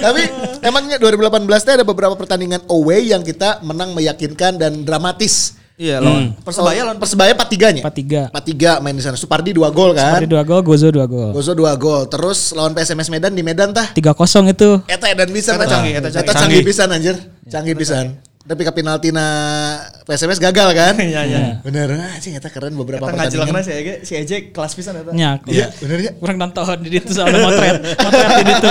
Speaker 3: Tapi emangnya 2018 teh ada beberapa pertandingan away yang kita menang meyakinkan dan dramatis.
Speaker 2: (laughs) Iya, lawan Persebaya lawan
Speaker 3: Persebaya 4-3 nya.
Speaker 5: 4-3.
Speaker 3: 4-3 main di sana. Supardi 2 gol kan.
Speaker 5: Dari 2 gol, Gozo 2 gol.
Speaker 3: Gozo 2 gol. Terus lawan PSMS Medan di Medan tah.
Speaker 5: 3-0 itu.
Speaker 3: Eta edan pisan
Speaker 2: Eta canggih,
Speaker 3: eta canggih,
Speaker 2: eta
Speaker 3: eta
Speaker 2: canggih.
Speaker 3: canggih. pisan anjir. Canggih pisan. Tapi ke penalti na PSMS gagal
Speaker 2: (laughs)
Speaker 3: kan? Iya iya. Bener anjing eta keren beberapa
Speaker 2: Eta ngajelengna
Speaker 3: pertandingan.
Speaker 2: si Ege, ya, si Ejek kelas pisan eta.
Speaker 5: Ya, aku-
Speaker 3: Iya, bener ya.
Speaker 5: kurang nonton di itu soalnya motret, motret di itu.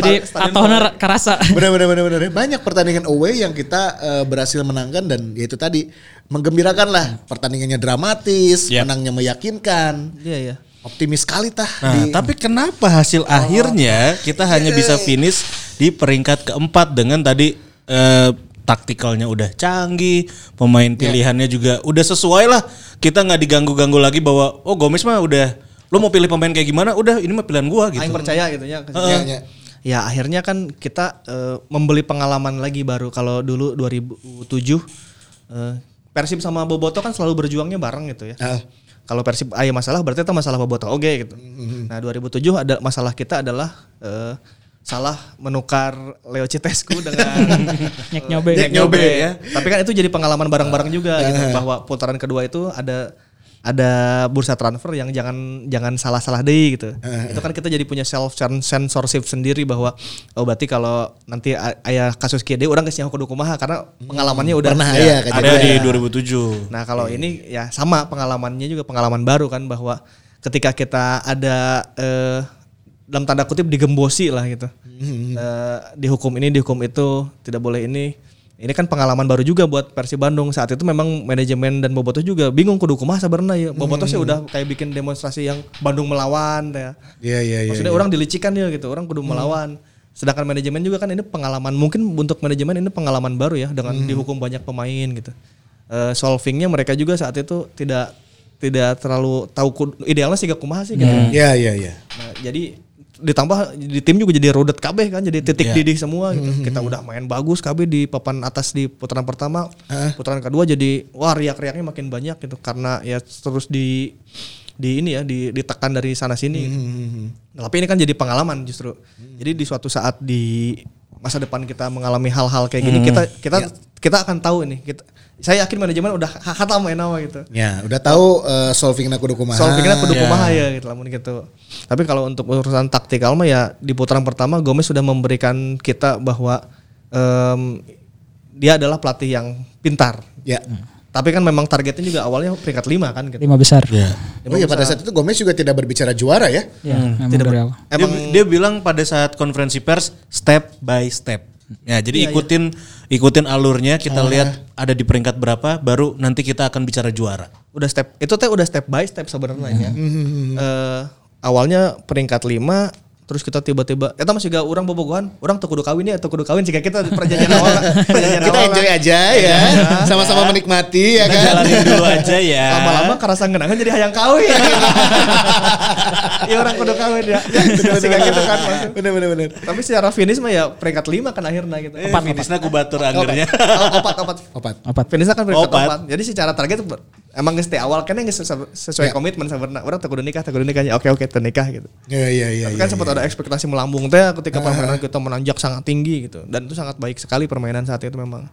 Speaker 5: Jadi
Speaker 2: Stadion
Speaker 5: atau kerasa. (laughs)
Speaker 3: Bener bener bener bener. Banyak pertandingan away yang kita eh, berhasil menangkan dan yaitu tadi menggembirakan lah. Pertandingannya dramatis,
Speaker 4: Yap.
Speaker 3: menangnya meyakinkan.
Speaker 2: Iya, iya.
Speaker 3: Optimis sekali tah.
Speaker 4: Nah,
Speaker 3: di- Oh. Iya.
Speaker 4: tapi kenapa hasil akhirnya kita hanya bisa finish di peringkat keempat dengan tadi eh, taktikalnya udah canggih, pemain
Speaker 3: Iya.
Speaker 4: pilihannya juga udah sesuai lah. Kita nggak diganggu-ganggu lagi bahwa oh Gomez mah udah lo mau pilih pemain kayak gimana? Udah ini mah pilihan gua gitu.
Speaker 2: Aing percaya gitu ya.
Speaker 3: Ya, ya.
Speaker 2: Ya akhirnya kan kita eh, membeli pengalaman lagi baru kalau dulu 2007 eh, Persib sama Boboto kan selalu berjuangnya bareng gitu ya.
Speaker 3: Ah.
Speaker 2: Kalau Persib ada masalah berarti itu masalah Boboto oke gitu. Nah 2007 ada masalah kita adalah eh, salah menukar Leo Citescu dengan
Speaker 5: Nyek nyobe.
Speaker 2: Jack Nyobe ya. Tapi kan itu jadi pengalaman bareng-bareng juga gitu bahwa putaran kedua itu ada ada bursa transfer yang jangan jangan salah-salah deh gitu. Itu kan kita jadi punya self censorship sendiri bahwa oh berarti kalau nanti a- ayah kasus KD orang ke kudu kumaha karena pengalamannya udah
Speaker 3: Pernah
Speaker 2: Ya.
Speaker 3: ya,
Speaker 4: Ada
Speaker 3: kejadian.
Speaker 4: di 2007.
Speaker 2: Nah kalau ini ya sama pengalamannya juga pengalaman baru kan bahwa ketika kita ada eh, dalam tanda kutip digembosi lah gitu, Eh, dihukum ini dihukum itu tidak boleh ini. Ini kan pengalaman baru juga buat Persib Bandung saat itu memang manajemen dan Boboto juga bingung kudu kumaha sabarna ya. Boboto sih udah kayak bikin demonstrasi yang Bandung melawan ya.
Speaker 3: Iya iya iya. Hmm.
Speaker 2: Maksudnya orang dilicikan ya gitu, orang kudu melawan. Sedangkan manajemen juga kan ini pengalaman mungkin untuk manajemen ini pengalaman baru ya dengan
Speaker 3: Hmm.
Speaker 2: dihukum banyak pemain gitu. Eh, solvingnya mereka juga saat itu tidak tidak terlalu tahu ku- idealnya sih gak kumaha sih gitu.
Speaker 3: Iya iya iya.
Speaker 2: Nah, jadi ditambah di tim juga jadi rodet kabeh kan jadi
Speaker 3: Iya.
Speaker 2: titik didih semua
Speaker 3: Hmm,
Speaker 2: gitu. Kita udah main bagus kabeh di papan atas di putaran pertama, putaran kedua jadi wah riak-riaknya makin banyak gitu karena ya terus di di ini ya di, ditekan dari sana
Speaker 3: Hmm,
Speaker 2: sini. gitu. Nah, tapi ini kan jadi pengalaman justru. Jadi di suatu saat di masa depan kita mengalami hal-hal kayak gini kita kita kita akan tahu ini. Kita, saya yakin manajemen udah kata main nama gitu
Speaker 3: Ya, udah tahu eh, solving aku kumaha.
Speaker 2: soal pikiran kudu kumaha ya gitu lamun gitu. Tapi kalau untuk urusan taktikal mah ya di putaran pertama Gomez sudah memberikan kita bahwa em, dia adalah pelatih yang pintar.
Speaker 3: Ya.
Speaker 2: Tapi kan memang targetnya juga awalnya peringkat 5 kan gitu.
Speaker 5: Lima besar.
Speaker 3: Oh iya pada saat itu Gomez juga tidak berbicara juara ya.
Speaker 5: Ya, memang dari awal.
Speaker 4: Dia, dia bilang pada saat konferensi pers step by step. Ya,
Speaker 3: Iya,
Speaker 4: jadi ikutin ikutin alurnya, kita lihat ada di peringkat berapa, baru nanti kita akan bicara juara.
Speaker 2: udah step itu teh udah step by step
Speaker 3: Hmm.
Speaker 2: sebenarnya. Eh, awalnya peringkat 5 terus kita tiba-tiba eta masih gak orang bobogohan, orang tuh kudu kawin ya, tuh kudu kawin jika kita perjanjian awal. Perjanjian
Speaker 3: (laughs) Kita
Speaker 2: awal.
Speaker 3: enjoy aja ya, sama-sama menikmati (laughs) ya
Speaker 4: Kita
Speaker 3: kan.
Speaker 4: jalanin dulu aja ya.
Speaker 2: lama-lama kerasa ngenangan jadi hayang
Speaker 3: (laughs)
Speaker 2: kawin ya orang kudu kawin ya Masih kayak gitu kan maksudnya.
Speaker 3: Iya, Bener bener bener.
Speaker 2: tapi secara finish mah ya peringkat lima kan akhirnya gitu
Speaker 4: Eh, finishnya kubatur anggernya.
Speaker 2: Oh, (laughs) opat opat
Speaker 3: Opat.
Speaker 5: Opat.
Speaker 2: finishnya kan peringkat
Speaker 4: Opat.
Speaker 2: opat jadi secara target ber- emang geus teh awal kan geus sesu-
Speaker 3: Ya.
Speaker 2: sesuai komitmen sabarna urang teh kudu nikah teh kudu nikahnya oke oke teh nikah gitu
Speaker 3: Iya iya iya.
Speaker 2: tapi
Speaker 3: iya,
Speaker 2: kan sempat
Speaker 3: iya. Ah.
Speaker 2: ada ekspektasi melambung teh ketika permainan kita menanjak sangat tinggi gitu dan itu sangat baik sekali permainan saat itu
Speaker 3: (laughs)
Speaker 2: memang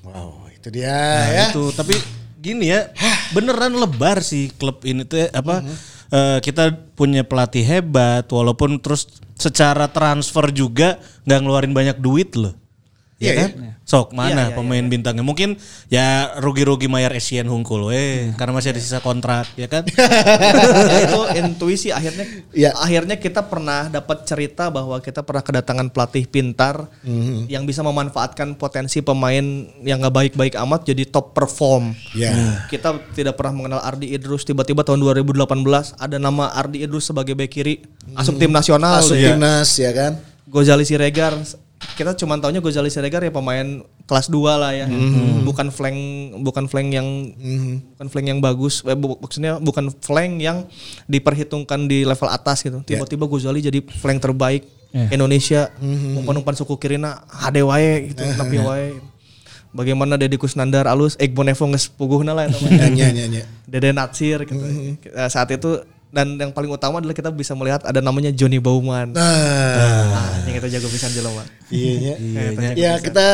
Speaker 3: Wow, itu dia
Speaker 4: Nah,
Speaker 3: ya.
Speaker 4: itu tapi gini ya beneran lebar sih klub ini tuh ya, apa eh, kita punya pelatih hebat walaupun terus secara transfer juga nggak ngeluarin banyak duit loh
Speaker 3: Iya,
Speaker 4: ya kan? Sok mana pemain bintangnya? Mungkin ya rugi-rugi Mayar Asian Hungkul eh karena masih ada sisa kontrak ya kan?
Speaker 2: Ya, itu intuisi akhirnya
Speaker 3: Iya.
Speaker 2: akhirnya kita pernah dapat cerita bahwa kita pernah kedatangan pelatih pintar
Speaker 3: Mhm.
Speaker 2: yang bisa memanfaatkan potensi pemain yang nggak baik-baik amat jadi top perform
Speaker 3: Iya.
Speaker 2: kita tidak pernah mengenal Ardi Idrus tiba-tiba tahun 2018 ada nama Ardi Idrus sebagai bek kiri asup tim nasional
Speaker 3: Mhm. Masuk
Speaker 2: gitu.
Speaker 3: timnas ya kan.
Speaker 2: Gozali Siregar kita cuma taunya Gozali Siregar ya pemain kelas 2 lah ya bukan flank bukan flank yang bukan flank yang bagus eh, bu- maksudnya bukan flank yang diperhitungkan di level atas gitu tiba-tiba Gozali jadi flank terbaik Indonesia umpan-umpan suku kirina hade wae gitu tapi wae bagaimana Deddy Kusnandar alus Egbo Nevo geus puguhna lah ya, namanya.
Speaker 3: Nyanyi nyanyi.
Speaker 2: Dede Natsir gitu. Eh, Saat itu dan yang paling utama adalah kita bisa melihat ada namanya Johnny Bauman.
Speaker 3: Nah,
Speaker 2: Ah, yang kita jago pisan jelema.
Speaker 3: iya.
Speaker 2: Ternyata
Speaker 3: Ya kita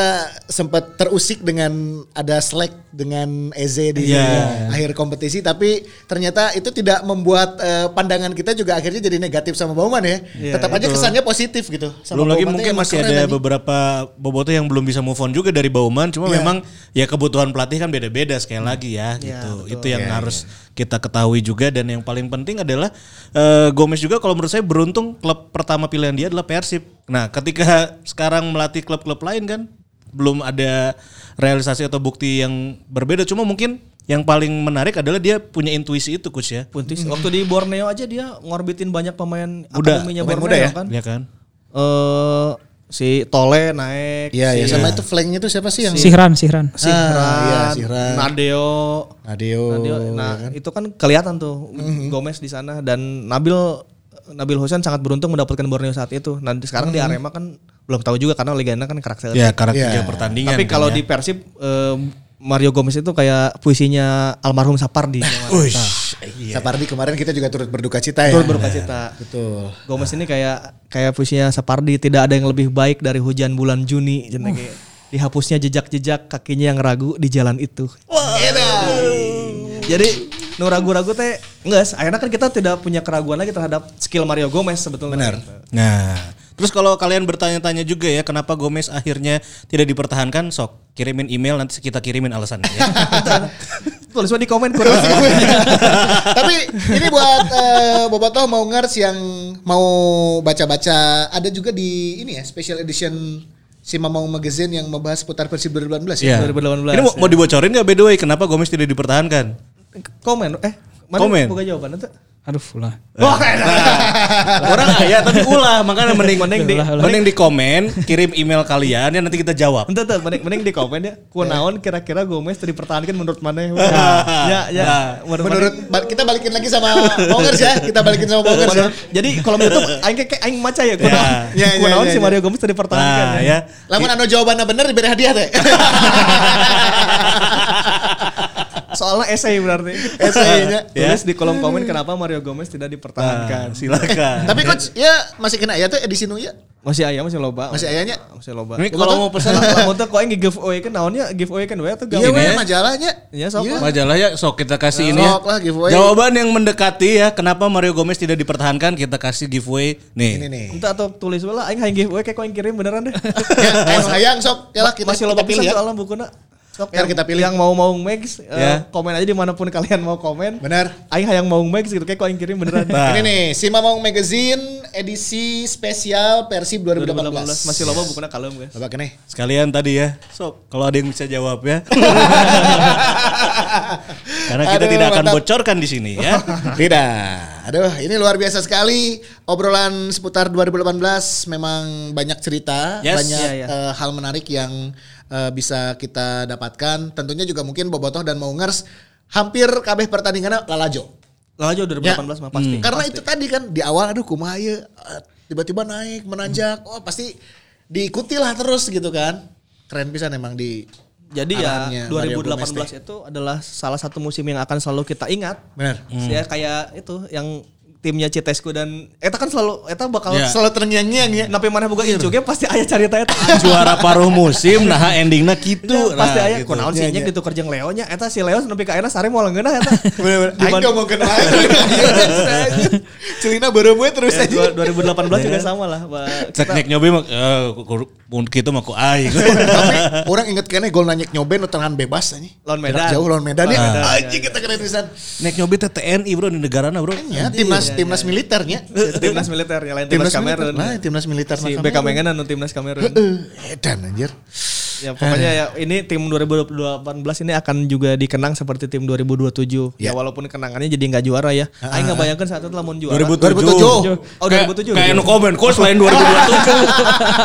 Speaker 3: sempat terusik dengan ada slack dengan Eze di
Speaker 4: Iya.
Speaker 3: akhir kompetisi tapi ternyata itu tidak membuat eh, pandangan kita juga akhirnya jadi negatif sama Bauman ya. Tetap aja kesannya positif gitu. Sama
Speaker 4: belum lagi
Speaker 3: Bauman tuh
Speaker 4: mungkin
Speaker 3: emang
Speaker 4: masih
Speaker 3: keren
Speaker 4: ada
Speaker 3: anjing.
Speaker 4: beberapa bobotoh yang belum bisa move on juga dari Bauman
Speaker 3: Iya.
Speaker 4: cuma
Speaker 3: Hmm.
Speaker 4: memang ya kebutuhan pelatih kan beda-beda sekali lagi ya gitu itu yang harus kita ketahui juga dan yang paling penting adalah eh, Gomez juga kalau menurut saya beruntung klub pertama pilihan dia adalah Persib nah ketika sekarang melatih klub-klub lain kan belum ada realisasi atau bukti yang berbeda cuma mungkin yang paling menarik adalah dia punya intuisi itu coach ya
Speaker 2: Puntis. Waktu di Borneo aja dia ngorbitin banyak pemain
Speaker 4: Muda.
Speaker 2: akademinya
Speaker 3: Pemain
Speaker 2: Borneo
Speaker 3: muda ya?
Speaker 2: kan.
Speaker 4: ya kan
Speaker 2: Eh, si Tole naik,
Speaker 3: Iya
Speaker 2: si
Speaker 3: ya, sama itu flanknya tuh siapa sih yang
Speaker 5: Sihran, Sihran.
Speaker 3: Ah, iya,
Speaker 2: Sihran,
Speaker 3: Sihran. Oh, iya
Speaker 2: Nadeo.
Speaker 3: Nadeo.
Speaker 2: Nadeo. Nah, itu kan kelihatan tuh
Speaker 3: Mm-hmm.
Speaker 2: Gomez di sana dan Nabil Nabil Hosen sangat beruntung mendapatkan Borneo saat itu. Nah, sekarang di Arema kan belum tahu juga karena Legenda kan karakternya
Speaker 4: ya karena tiga
Speaker 3: Mm-hmm. Iya.
Speaker 4: pertandingan
Speaker 2: Tapi
Speaker 4: kan
Speaker 2: kalau
Speaker 4: ya.
Speaker 2: di Persib eh, Mario Gomez itu kayak puisinya almarhum Sapardi.
Speaker 3: (laughs) Sapardi Nah, kemarin kita juga turut berduka cita ya.
Speaker 2: iya. Turut berduka cita.
Speaker 3: Betul.
Speaker 2: Gomez ini kayak kayak puisinya Sapardi tidak ada yang lebih baik dari hujan bulan Juni cenah kayak dihapusnya jejak-jejak kakinya yang ragu di jalan itu. Gitu. Jadi nu ragu-ragu teh enggak akhirnya kan kita tidak punya keraguan lagi terhadap skill Mario Gomez sebetulnya.
Speaker 3: Benar.
Speaker 4: Nah, terus kalau kalian bertanya-tanya juga ya kenapa Gomez akhirnya tidak dipertahankan, sok kirimin email nanti kita kirimin alasannya. Ya.
Speaker 2: (laughs) Tulis di komen kurang.
Speaker 3: (laughs) Tapi ini buat eh, Bobotoh mau ngers yang mau baca-baca ada juga di ini ya special edition si Mamau Magazine yang membahas seputar Persib 2018 ya.
Speaker 4: Iya.
Speaker 2: 2018,
Speaker 4: Ini mau, mau dibocorin nggak by the way kenapa Gomez tidak dipertahankan?
Speaker 2: komen eh
Speaker 4: Komen.
Speaker 2: Buka jawaban itu.
Speaker 5: Aduh, ulah.
Speaker 2: Wah,
Speaker 4: (laughs) Orang ya tapi ulah makanya mending mending di
Speaker 2: Ah,
Speaker 5: Ulah, ulah.
Speaker 4: mending di komen kirim email kalian ya nanti kita jawab.
Speaker 2: Entah tuh, Oh, mending, mending di komen ya.
Speaker 3: (laughs)
Speaker 2: Kunaon kira-kira Gomez tadi pertahankan menurut mana? Ya, ya, ya. Menurut,
Speaker 3: Menurut ba- kita balikin lagi sama Mongers ya, kita balikin sama
Speaker 2: mana?
Speaker 3: Mongers ya.
Speaker 2: Menurut- jadi kalau menurut tuh, aing kayak aing maca ya. Kunaon,
Speaker 3: Ya, ya,
Speaker 2: kunaon
Speaker 3: ya,
Speaker 2: si
Speaker 3: ya.
Speaker 2: Mario Gomez tadi pertahankan ya.
Speaker 4: Nah, ya.
Speaker 3: Lamun anu jawabannya bener diberi hadiah
Speaker 2: (laughs)
Speaker 3: teh.
Speaker 2: Soalnya esai berarti. (laughs)
Speaker 3: Esainya.
Speaker 2: Tulis di kolom komen kenapa Mario Gomez tidak dipertahankan.
Speaker 4: Nah, silakan.
Speaker 3: Tapi coach, ya masih kena ya tuh edisi nu ya.
Speaker 2: Masih ayam masih loba.
Speaker 3: Masih ayahnya.
Speaker 2: Masih loba. Kan
Speaker 4: ini kalau mau pesan
Speaker 3: (laughs)
Speaker 2: Lamun tuh kok aing giveaway kan naonnya giveaway kan we tuh
Speaker 3: Iya
Speaker 2: gawe.
Speaker 3: we
Speaker 4: ya.
Speaker 3: majalahnya.
Speaker 2: Ya sok.
Speaker 4: majalah ya sok kita kasih ini
Speaker 3: Iya.
Speaker 4: ya.
Speaker 3: Sok lah giveaway.
Speaker 4: Jawaban yang mendekati ya kenapa Mario Gomez tidak dipertahankan kita kasih giveaway nih.
Speaker 3: Ini nih.
Speaker 2: Entah atau tulis we lah aing hayang giveaway kayak kok aing kirim beneran deh.
Speaker 3: Ya, ayo hayang sok. Ya lah kita,
Speaker 2: masih
Speaker 3: kita
Speaker 2: loba
Speaker 3: pilih
Speaker 2: pisan
Speaker 3: ya.
Speaker 2: soalnya bukuna. Sok
Speaker 3: Ntar
Speaker 2: yang-
Speaker 3: kita pilih.
Speaker 2: yang mau mau Max eh,
Speaker 4: Ya.
Speaker 2: komen aja dimanapun kalian mau komen.
Speaker 3: Benar.
Speaker 2: Aing hayang mau Max gitu kayak kok yang kirim (laughs) beneran.
Speaker 4: Nah.
Speaker 3: Ini nih, si Mamau Magazine edisi spesial Persib 2018.
Speaker 2: 2018 masih loba bukuna kalem guys.
Speaker 3: Bapak kene.
Speaker 4: Sekalian tadi ya, sok kalau ada yang bisa jawab ya. (laughs) Karena kita
Speaker 3: Aduh,
Speaker 4: tidak akan
Speaker 3: mantap.
Speaker 4: bocorkan di sini ya.
Speaker 3: Tidak. Aduh, ini luar biasa sekali obrolan seputar 2018 memang banyak cerita,
Speaker 4: Yes.
Speaker 3: banyak
Speaker 2: Iya, iya.
Speaker 3: eh, hal menarik yang eh, bisa kita dapatkan. Tentunya juga mungkin Bobotoh dan Maungers hampir kabeh pertandingannya lalajo.
Speaker 2: Lah aja 2018 mah Hmm. pasti.
Speaker 3: Karena itu tadi kan di awal aduh kumaha ieu, eh, tiba-tiba naik, menanjak. Oh, pasti diikuti lah terus gitu kan. Keren pisan emang di
Speaker 2: Jadi ya
Speaker 3: Arahannya Mario Gomez
Speaker 2: 2018 itu adalah salah satu musim yang akan selalu kita ingat.
Speaker 3: Benar.
Speaker 2: Ya kayak itu yang timnya Citesku dan Eta kan selalu Eta bakal
Speaker 4: Ya.
Speaker 2: selalu
Speaker 3: Selalu terngiang-ngiang ya.
Speaker 2: napi mana buka Icuge pasti ayah cerita (laughs) Eta. Ya,
Speaker 4: Juara paruh musim nah endingnya gitu. Nah,
Speaker 2: pasti ayah
Speaker 4: gitu.
Speaker 2: kunaon sih
Speaker 3: Iya,
Speaker 2: nya
Speaker 3: iya.
Speaker 2: gitu kerjeng Leo nya Eta si Leo nepi ka ayeuna sare moal ngeunah (laughs) Eta.
Speaker 3: Bener-bener. Aing
Speaker 2: Diban-
Speaker 3: gak mau kenal. Celina baru gue terus
Speaker 4: Eh,
Speaker 2: Ya,
Speaker 3: aja.
Speaker 2: dua- 2018 juga sama lah. Pak.
Speaker 4: Cek nek nyobi mah eh, ku- ku- mun kitu mah ku (laughs) aing.
Speaker 3: Tapi orang inget kayaknya gol nanyek nyoben utangan bebas aja.
Speaker 2: Lawan
Speaker 3: Jarak
Speaker 2: Medan.
Speaker 3: Jauh lawan Medan ya.
Speaker 2: Lawan Medan,
Speaker 3: Anjing kita kena tulisan.
Speaker 4: Nek nyobi teh TNI bro di negarana bro.
Speaker 3: Ya, timnas timnas militernya.
Speaker 2: Iya, timnas militer yang lain timnas Kamerun.
Speaker 3: Nah, Eh, timnas Eh, militer
Speaker 2: Si
Speaker 3: Kamerun.
Speaker 2: BK Mengenan dan timnas Kamerun.
Speaker 3: Heeh, edan anjir.
Speaker 2: ya pokoknya ya ini tim 2018 ini akan juga dikenang seperti tim 2027. Ya
Speaker 3: Ya.
Speaker 2: walaupun kenangannya jadi nggak juara ya. Aing nggak bayangkan saat itu lamun juara.
Speaker 3: 2007.
Speaker 2: Oh, 2007.
Speaker 4: Kayak no comment kok selain 2027.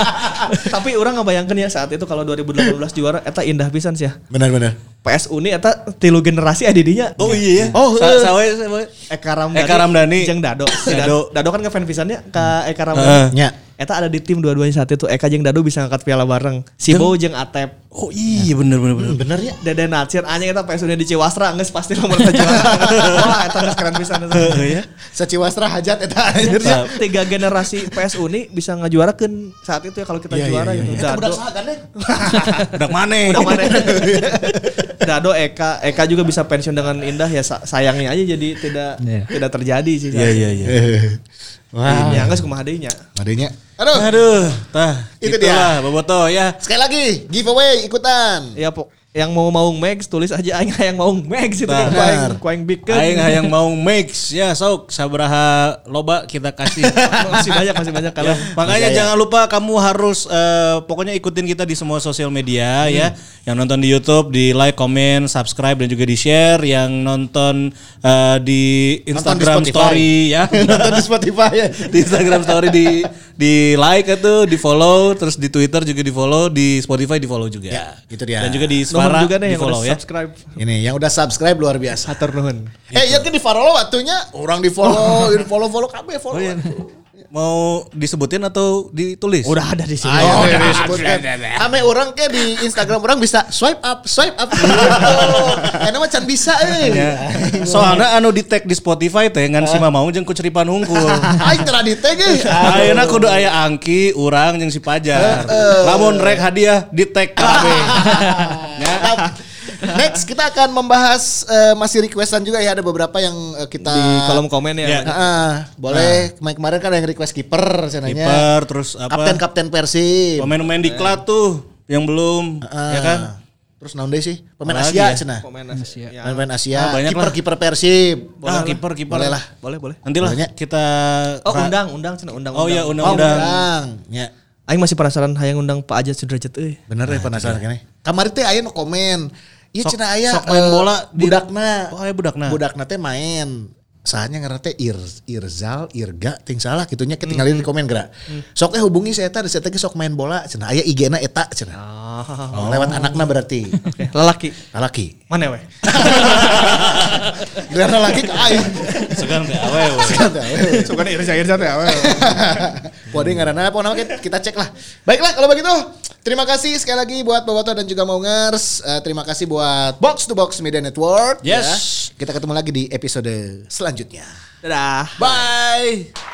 Speaker 2: (laughs) Tapi orang nggak bayangkan ya saat itu kalau 2018 juara eta indah pisan sih ya.
Speaker 3: Benar-benar.
Speaker 2: PSU ini eta tilu generasi adidinya.
Speaker 4: (laughs) Oh iya ya.
Speaker 2: Oh,
Speaker 4: Sa-
Speaker 2: eh.
Speaker 4: sawe sawe.
Speaker 2: Eka Ramdhani,
Speaker 4: Eka Ramdhani.
Speaker 2: jeung Dado. Si
Speaker 4: Dado.
Speaker 2: Dado. Dado kan ngefans pisannya ke Eka Ramdhani.
Speaker 3: Nya.
Speaker 2: Eta ada di tim dua-duanya saat itu. Eka jeung Dado bisa ngangkat piala bareng. Si Bo jeung Atep.
Speaker 4: Oh iya bener bener
Speaker 3: (laughs)
Speaker 4: bener.
Speaker 3: Bener ya.
Speaker 2: Dede Natsir anjing eta PSU-nya di Ciwasra geus pasti nomor juara. Wah, eta geus keren pisan eta.
Speaker 4: Iya.
Speaker 3: Saciwastra hajat eta anjir.
Speaker 2: Akhirnya
Speaker 4: Nah,
Speaker 2: tiga generasi PSU ini bisa ngejuarakeun saat itu ya kalau kita
Speaker 3: Iya,
Speaker 2: juara
Speaker 3: iya,
Speaker 2: gitu.
Speaker 3: iya. Eta
Speaker 2: Dado.
Speaker 3: budak saha kan
Speaker 4: Udah mana?
Speaker 2: Udah mana? Dado Eka, Eka juga bisa pensiun dengan indah ya sa- sayangnya aja jadi tidak
Speaker 5: Iya.
Speaker 2: tidak terjadi sih.
Speaker 4: (laughs) Iya iya iya.
Speaker 3: (laughs) Wah,
Speaker 2: Ya geus kumaha deui nya.
Speaker 3: adanya. Aduh,
Speaker 4: Aduh, tah.
Speaker 3: Itu
Speaker 4: Itu
Speaker 3: dia.
Speaker 4: dia. Boboto ya.
Speaker 3: sekali lagi giveaway ikutan.
Speaker 2: Ya pok yang mau maung Max tulis aja aing hayang maung Max itu
Speaker 4: Benar.
Speaker 2: kuaing kuaing bikin.
Speaker 4: Aing hayang mau mix ya sok sabraha loba kita kasih.
Speaker 2: (laughs)
Speaker 4: Ya,
Speaker 2: masih banyak masih banyak kalau
Speaker 4: Makanya jangan lupa kamu harus eh, pokoknya ikutin kita di semua sosial media ya.
Speaker 2: Hmm.
Speaker 4: Yang nonton di YouTube di like, comment, subscribe dan juga di share. Yang nonton eh, di
Speaker 3: Nonton di
Speaker 4: Instagram
Speaker 3: Spotify.
Speaker 4: story ya.
Speaker 3: (laughs)
Speaker 4: (laughs)
Speaker 3: Nonton di Spotify ya.
Speaker 4: di Instagram story di di like itu, di follow, terus di Twitter juga di follow, di Spotify di follow juga.
Speaker 3: (laughs) Ya, gitu dia.
Speaker 4: Dan juga di
Speaker 2: Nuhun
Speaker 4: Spara
Speaker 2: juga nih
Speaker 4: di
Speaker 2: yang udah
Speaker 4: follow ya.
Speaker 2: subscribe.
Speaker 3: Ini yang udah subscribe luar biasa.
Speaker 2: Hatur nuhun.
Speaker 3: Eh, ya kan di follow waktunya orang di
Speaker 4: Oh.
Speaker 3: follow, di follow follow KB follow.
Speaker 4: iya. Mau disebutin atau ditulis?
Speaker 2: Udah ada di sini.
Speaker 4: Oh,
Speaker 3: Ayo,
Speaker 4: iya.
Speaker 3: disebutkan. Ame orang ke di Instagram orang bisa swipe up, swipe
Speaker 4: (laughs)
Speaker 3: up. Gitu. Enak mah can bisa eh. euy.
Speaker 4: Iya.
Speaker 3: (laughs)
Speaker 4: Soalnya anu di tag di Spotify teh ngan si Mamau jeung kuceripan hungkul.
Speaker 3: Aing teu di tag euy.
Speaker 4: Ayeuna kudu aya Angki, urang jeung si Pajar. Lamun rek hadiah di tag kabeh. Ya.
Speaker 3: Mantap. Nah, Next kita akan membahas eh, masih requestan juga ya ada beberapa yang eh, kita
Speaker 2: Di kolom komen ya.
Speaker 4: Ya.
Speaker 3: Ah, boleh kemarin kemarin kan ada yang request kiper senanya.
Speaker 4: Nah. Kiper terus
Speaker 3: Kapten
Speaker 4: apa?
Speaker 3: kapten Persib.
Speaker 4: Pemain-pemain diklat tuh yang belum
Speaker 3: Ah,
Speaker 4: ya kan?
Speaker 3: Terus naon deui sih? Pemain
Speaker 4: Apalagi
Speaker 3: Asia
Speaker 4: ya?
Speaker 3: cenah.
Speaker 2: Komen aja. Ya.
Speaker 3: Pemain
Speaker 4: Ah,
Speaker 3: Asia,
Speaker 4: banyak
Speaker 3: kiper
Speaker 4: lah.
Speaker 3: kiper Persib.
Speaker 4: Ah, kiper kiper.
Speaker 3: Boleh lah.
Speaker 2: Boleh boleh.
Speaker 4: Nanti lah
Speaker 3: Banyak.
Speaker 4: kita kan.
Speaker 2: Oh undang undang cina iya, undang.
Speaker 4: Oh ya
Speaker 3: Oh,
Speaker 4: undang-undang.
Speaker 3: undang. Ya.
Speaker 2: Aing masih penasaran hayang undang Pak Ajat Sudrajat eh. euy.
Speaker 3: Bener deh penasaran kene. Kamari teh aya nu komen. Ieu
Speaker 4: Sok-
Speaker 3: cenah aya
Speaker 4: sok
Speaker 3: eh,
Speaker 4: main bola di-
Speaker 3: budakna.
Speaker 4: Oh, aya budakna.
Speaker 3: Budakna teh main. Sahanya ngarana teh Ir, Irzal, Irga, ting salah kitunya ke tinggalin
Speaker 4: Hmm.
Speaker 3: di komen gerak. Sok eh hubungi saya eta, saya teh sok main bola cenah aya IG-na eta cenah.
Speaker 2: Ah.
Speaker 4: Oh.
Speaker 3: Lewat anakna
Speaker 4: (laughs)
Speaker 3: berarti.
Speaker 2: Oke, Lelaki.
Speaker 3: Lalaki.
Speaker 2: Mana weh?
Speaker 3: (laughs) Gelar lalaki ka aing.
Speaker 4: Segan teh awewe.
Speaker 2: Suka iris air sate awe.
Speaker 3: (laughs) Waduh ngarana apa nama kita, kita cek lah. Baiklah kalau begitu. Terima kasih sekali lagi buat Boboto dan juga Maungers. Eh, terima kasih buat Box to Box Media Network. Ya.
Speaker 4: Yes.
Speaker 3: Kita ketemu lagi di episode selanjutnya.
Speaker 2: (laughs) Dadah.
Speaker 3: Bye.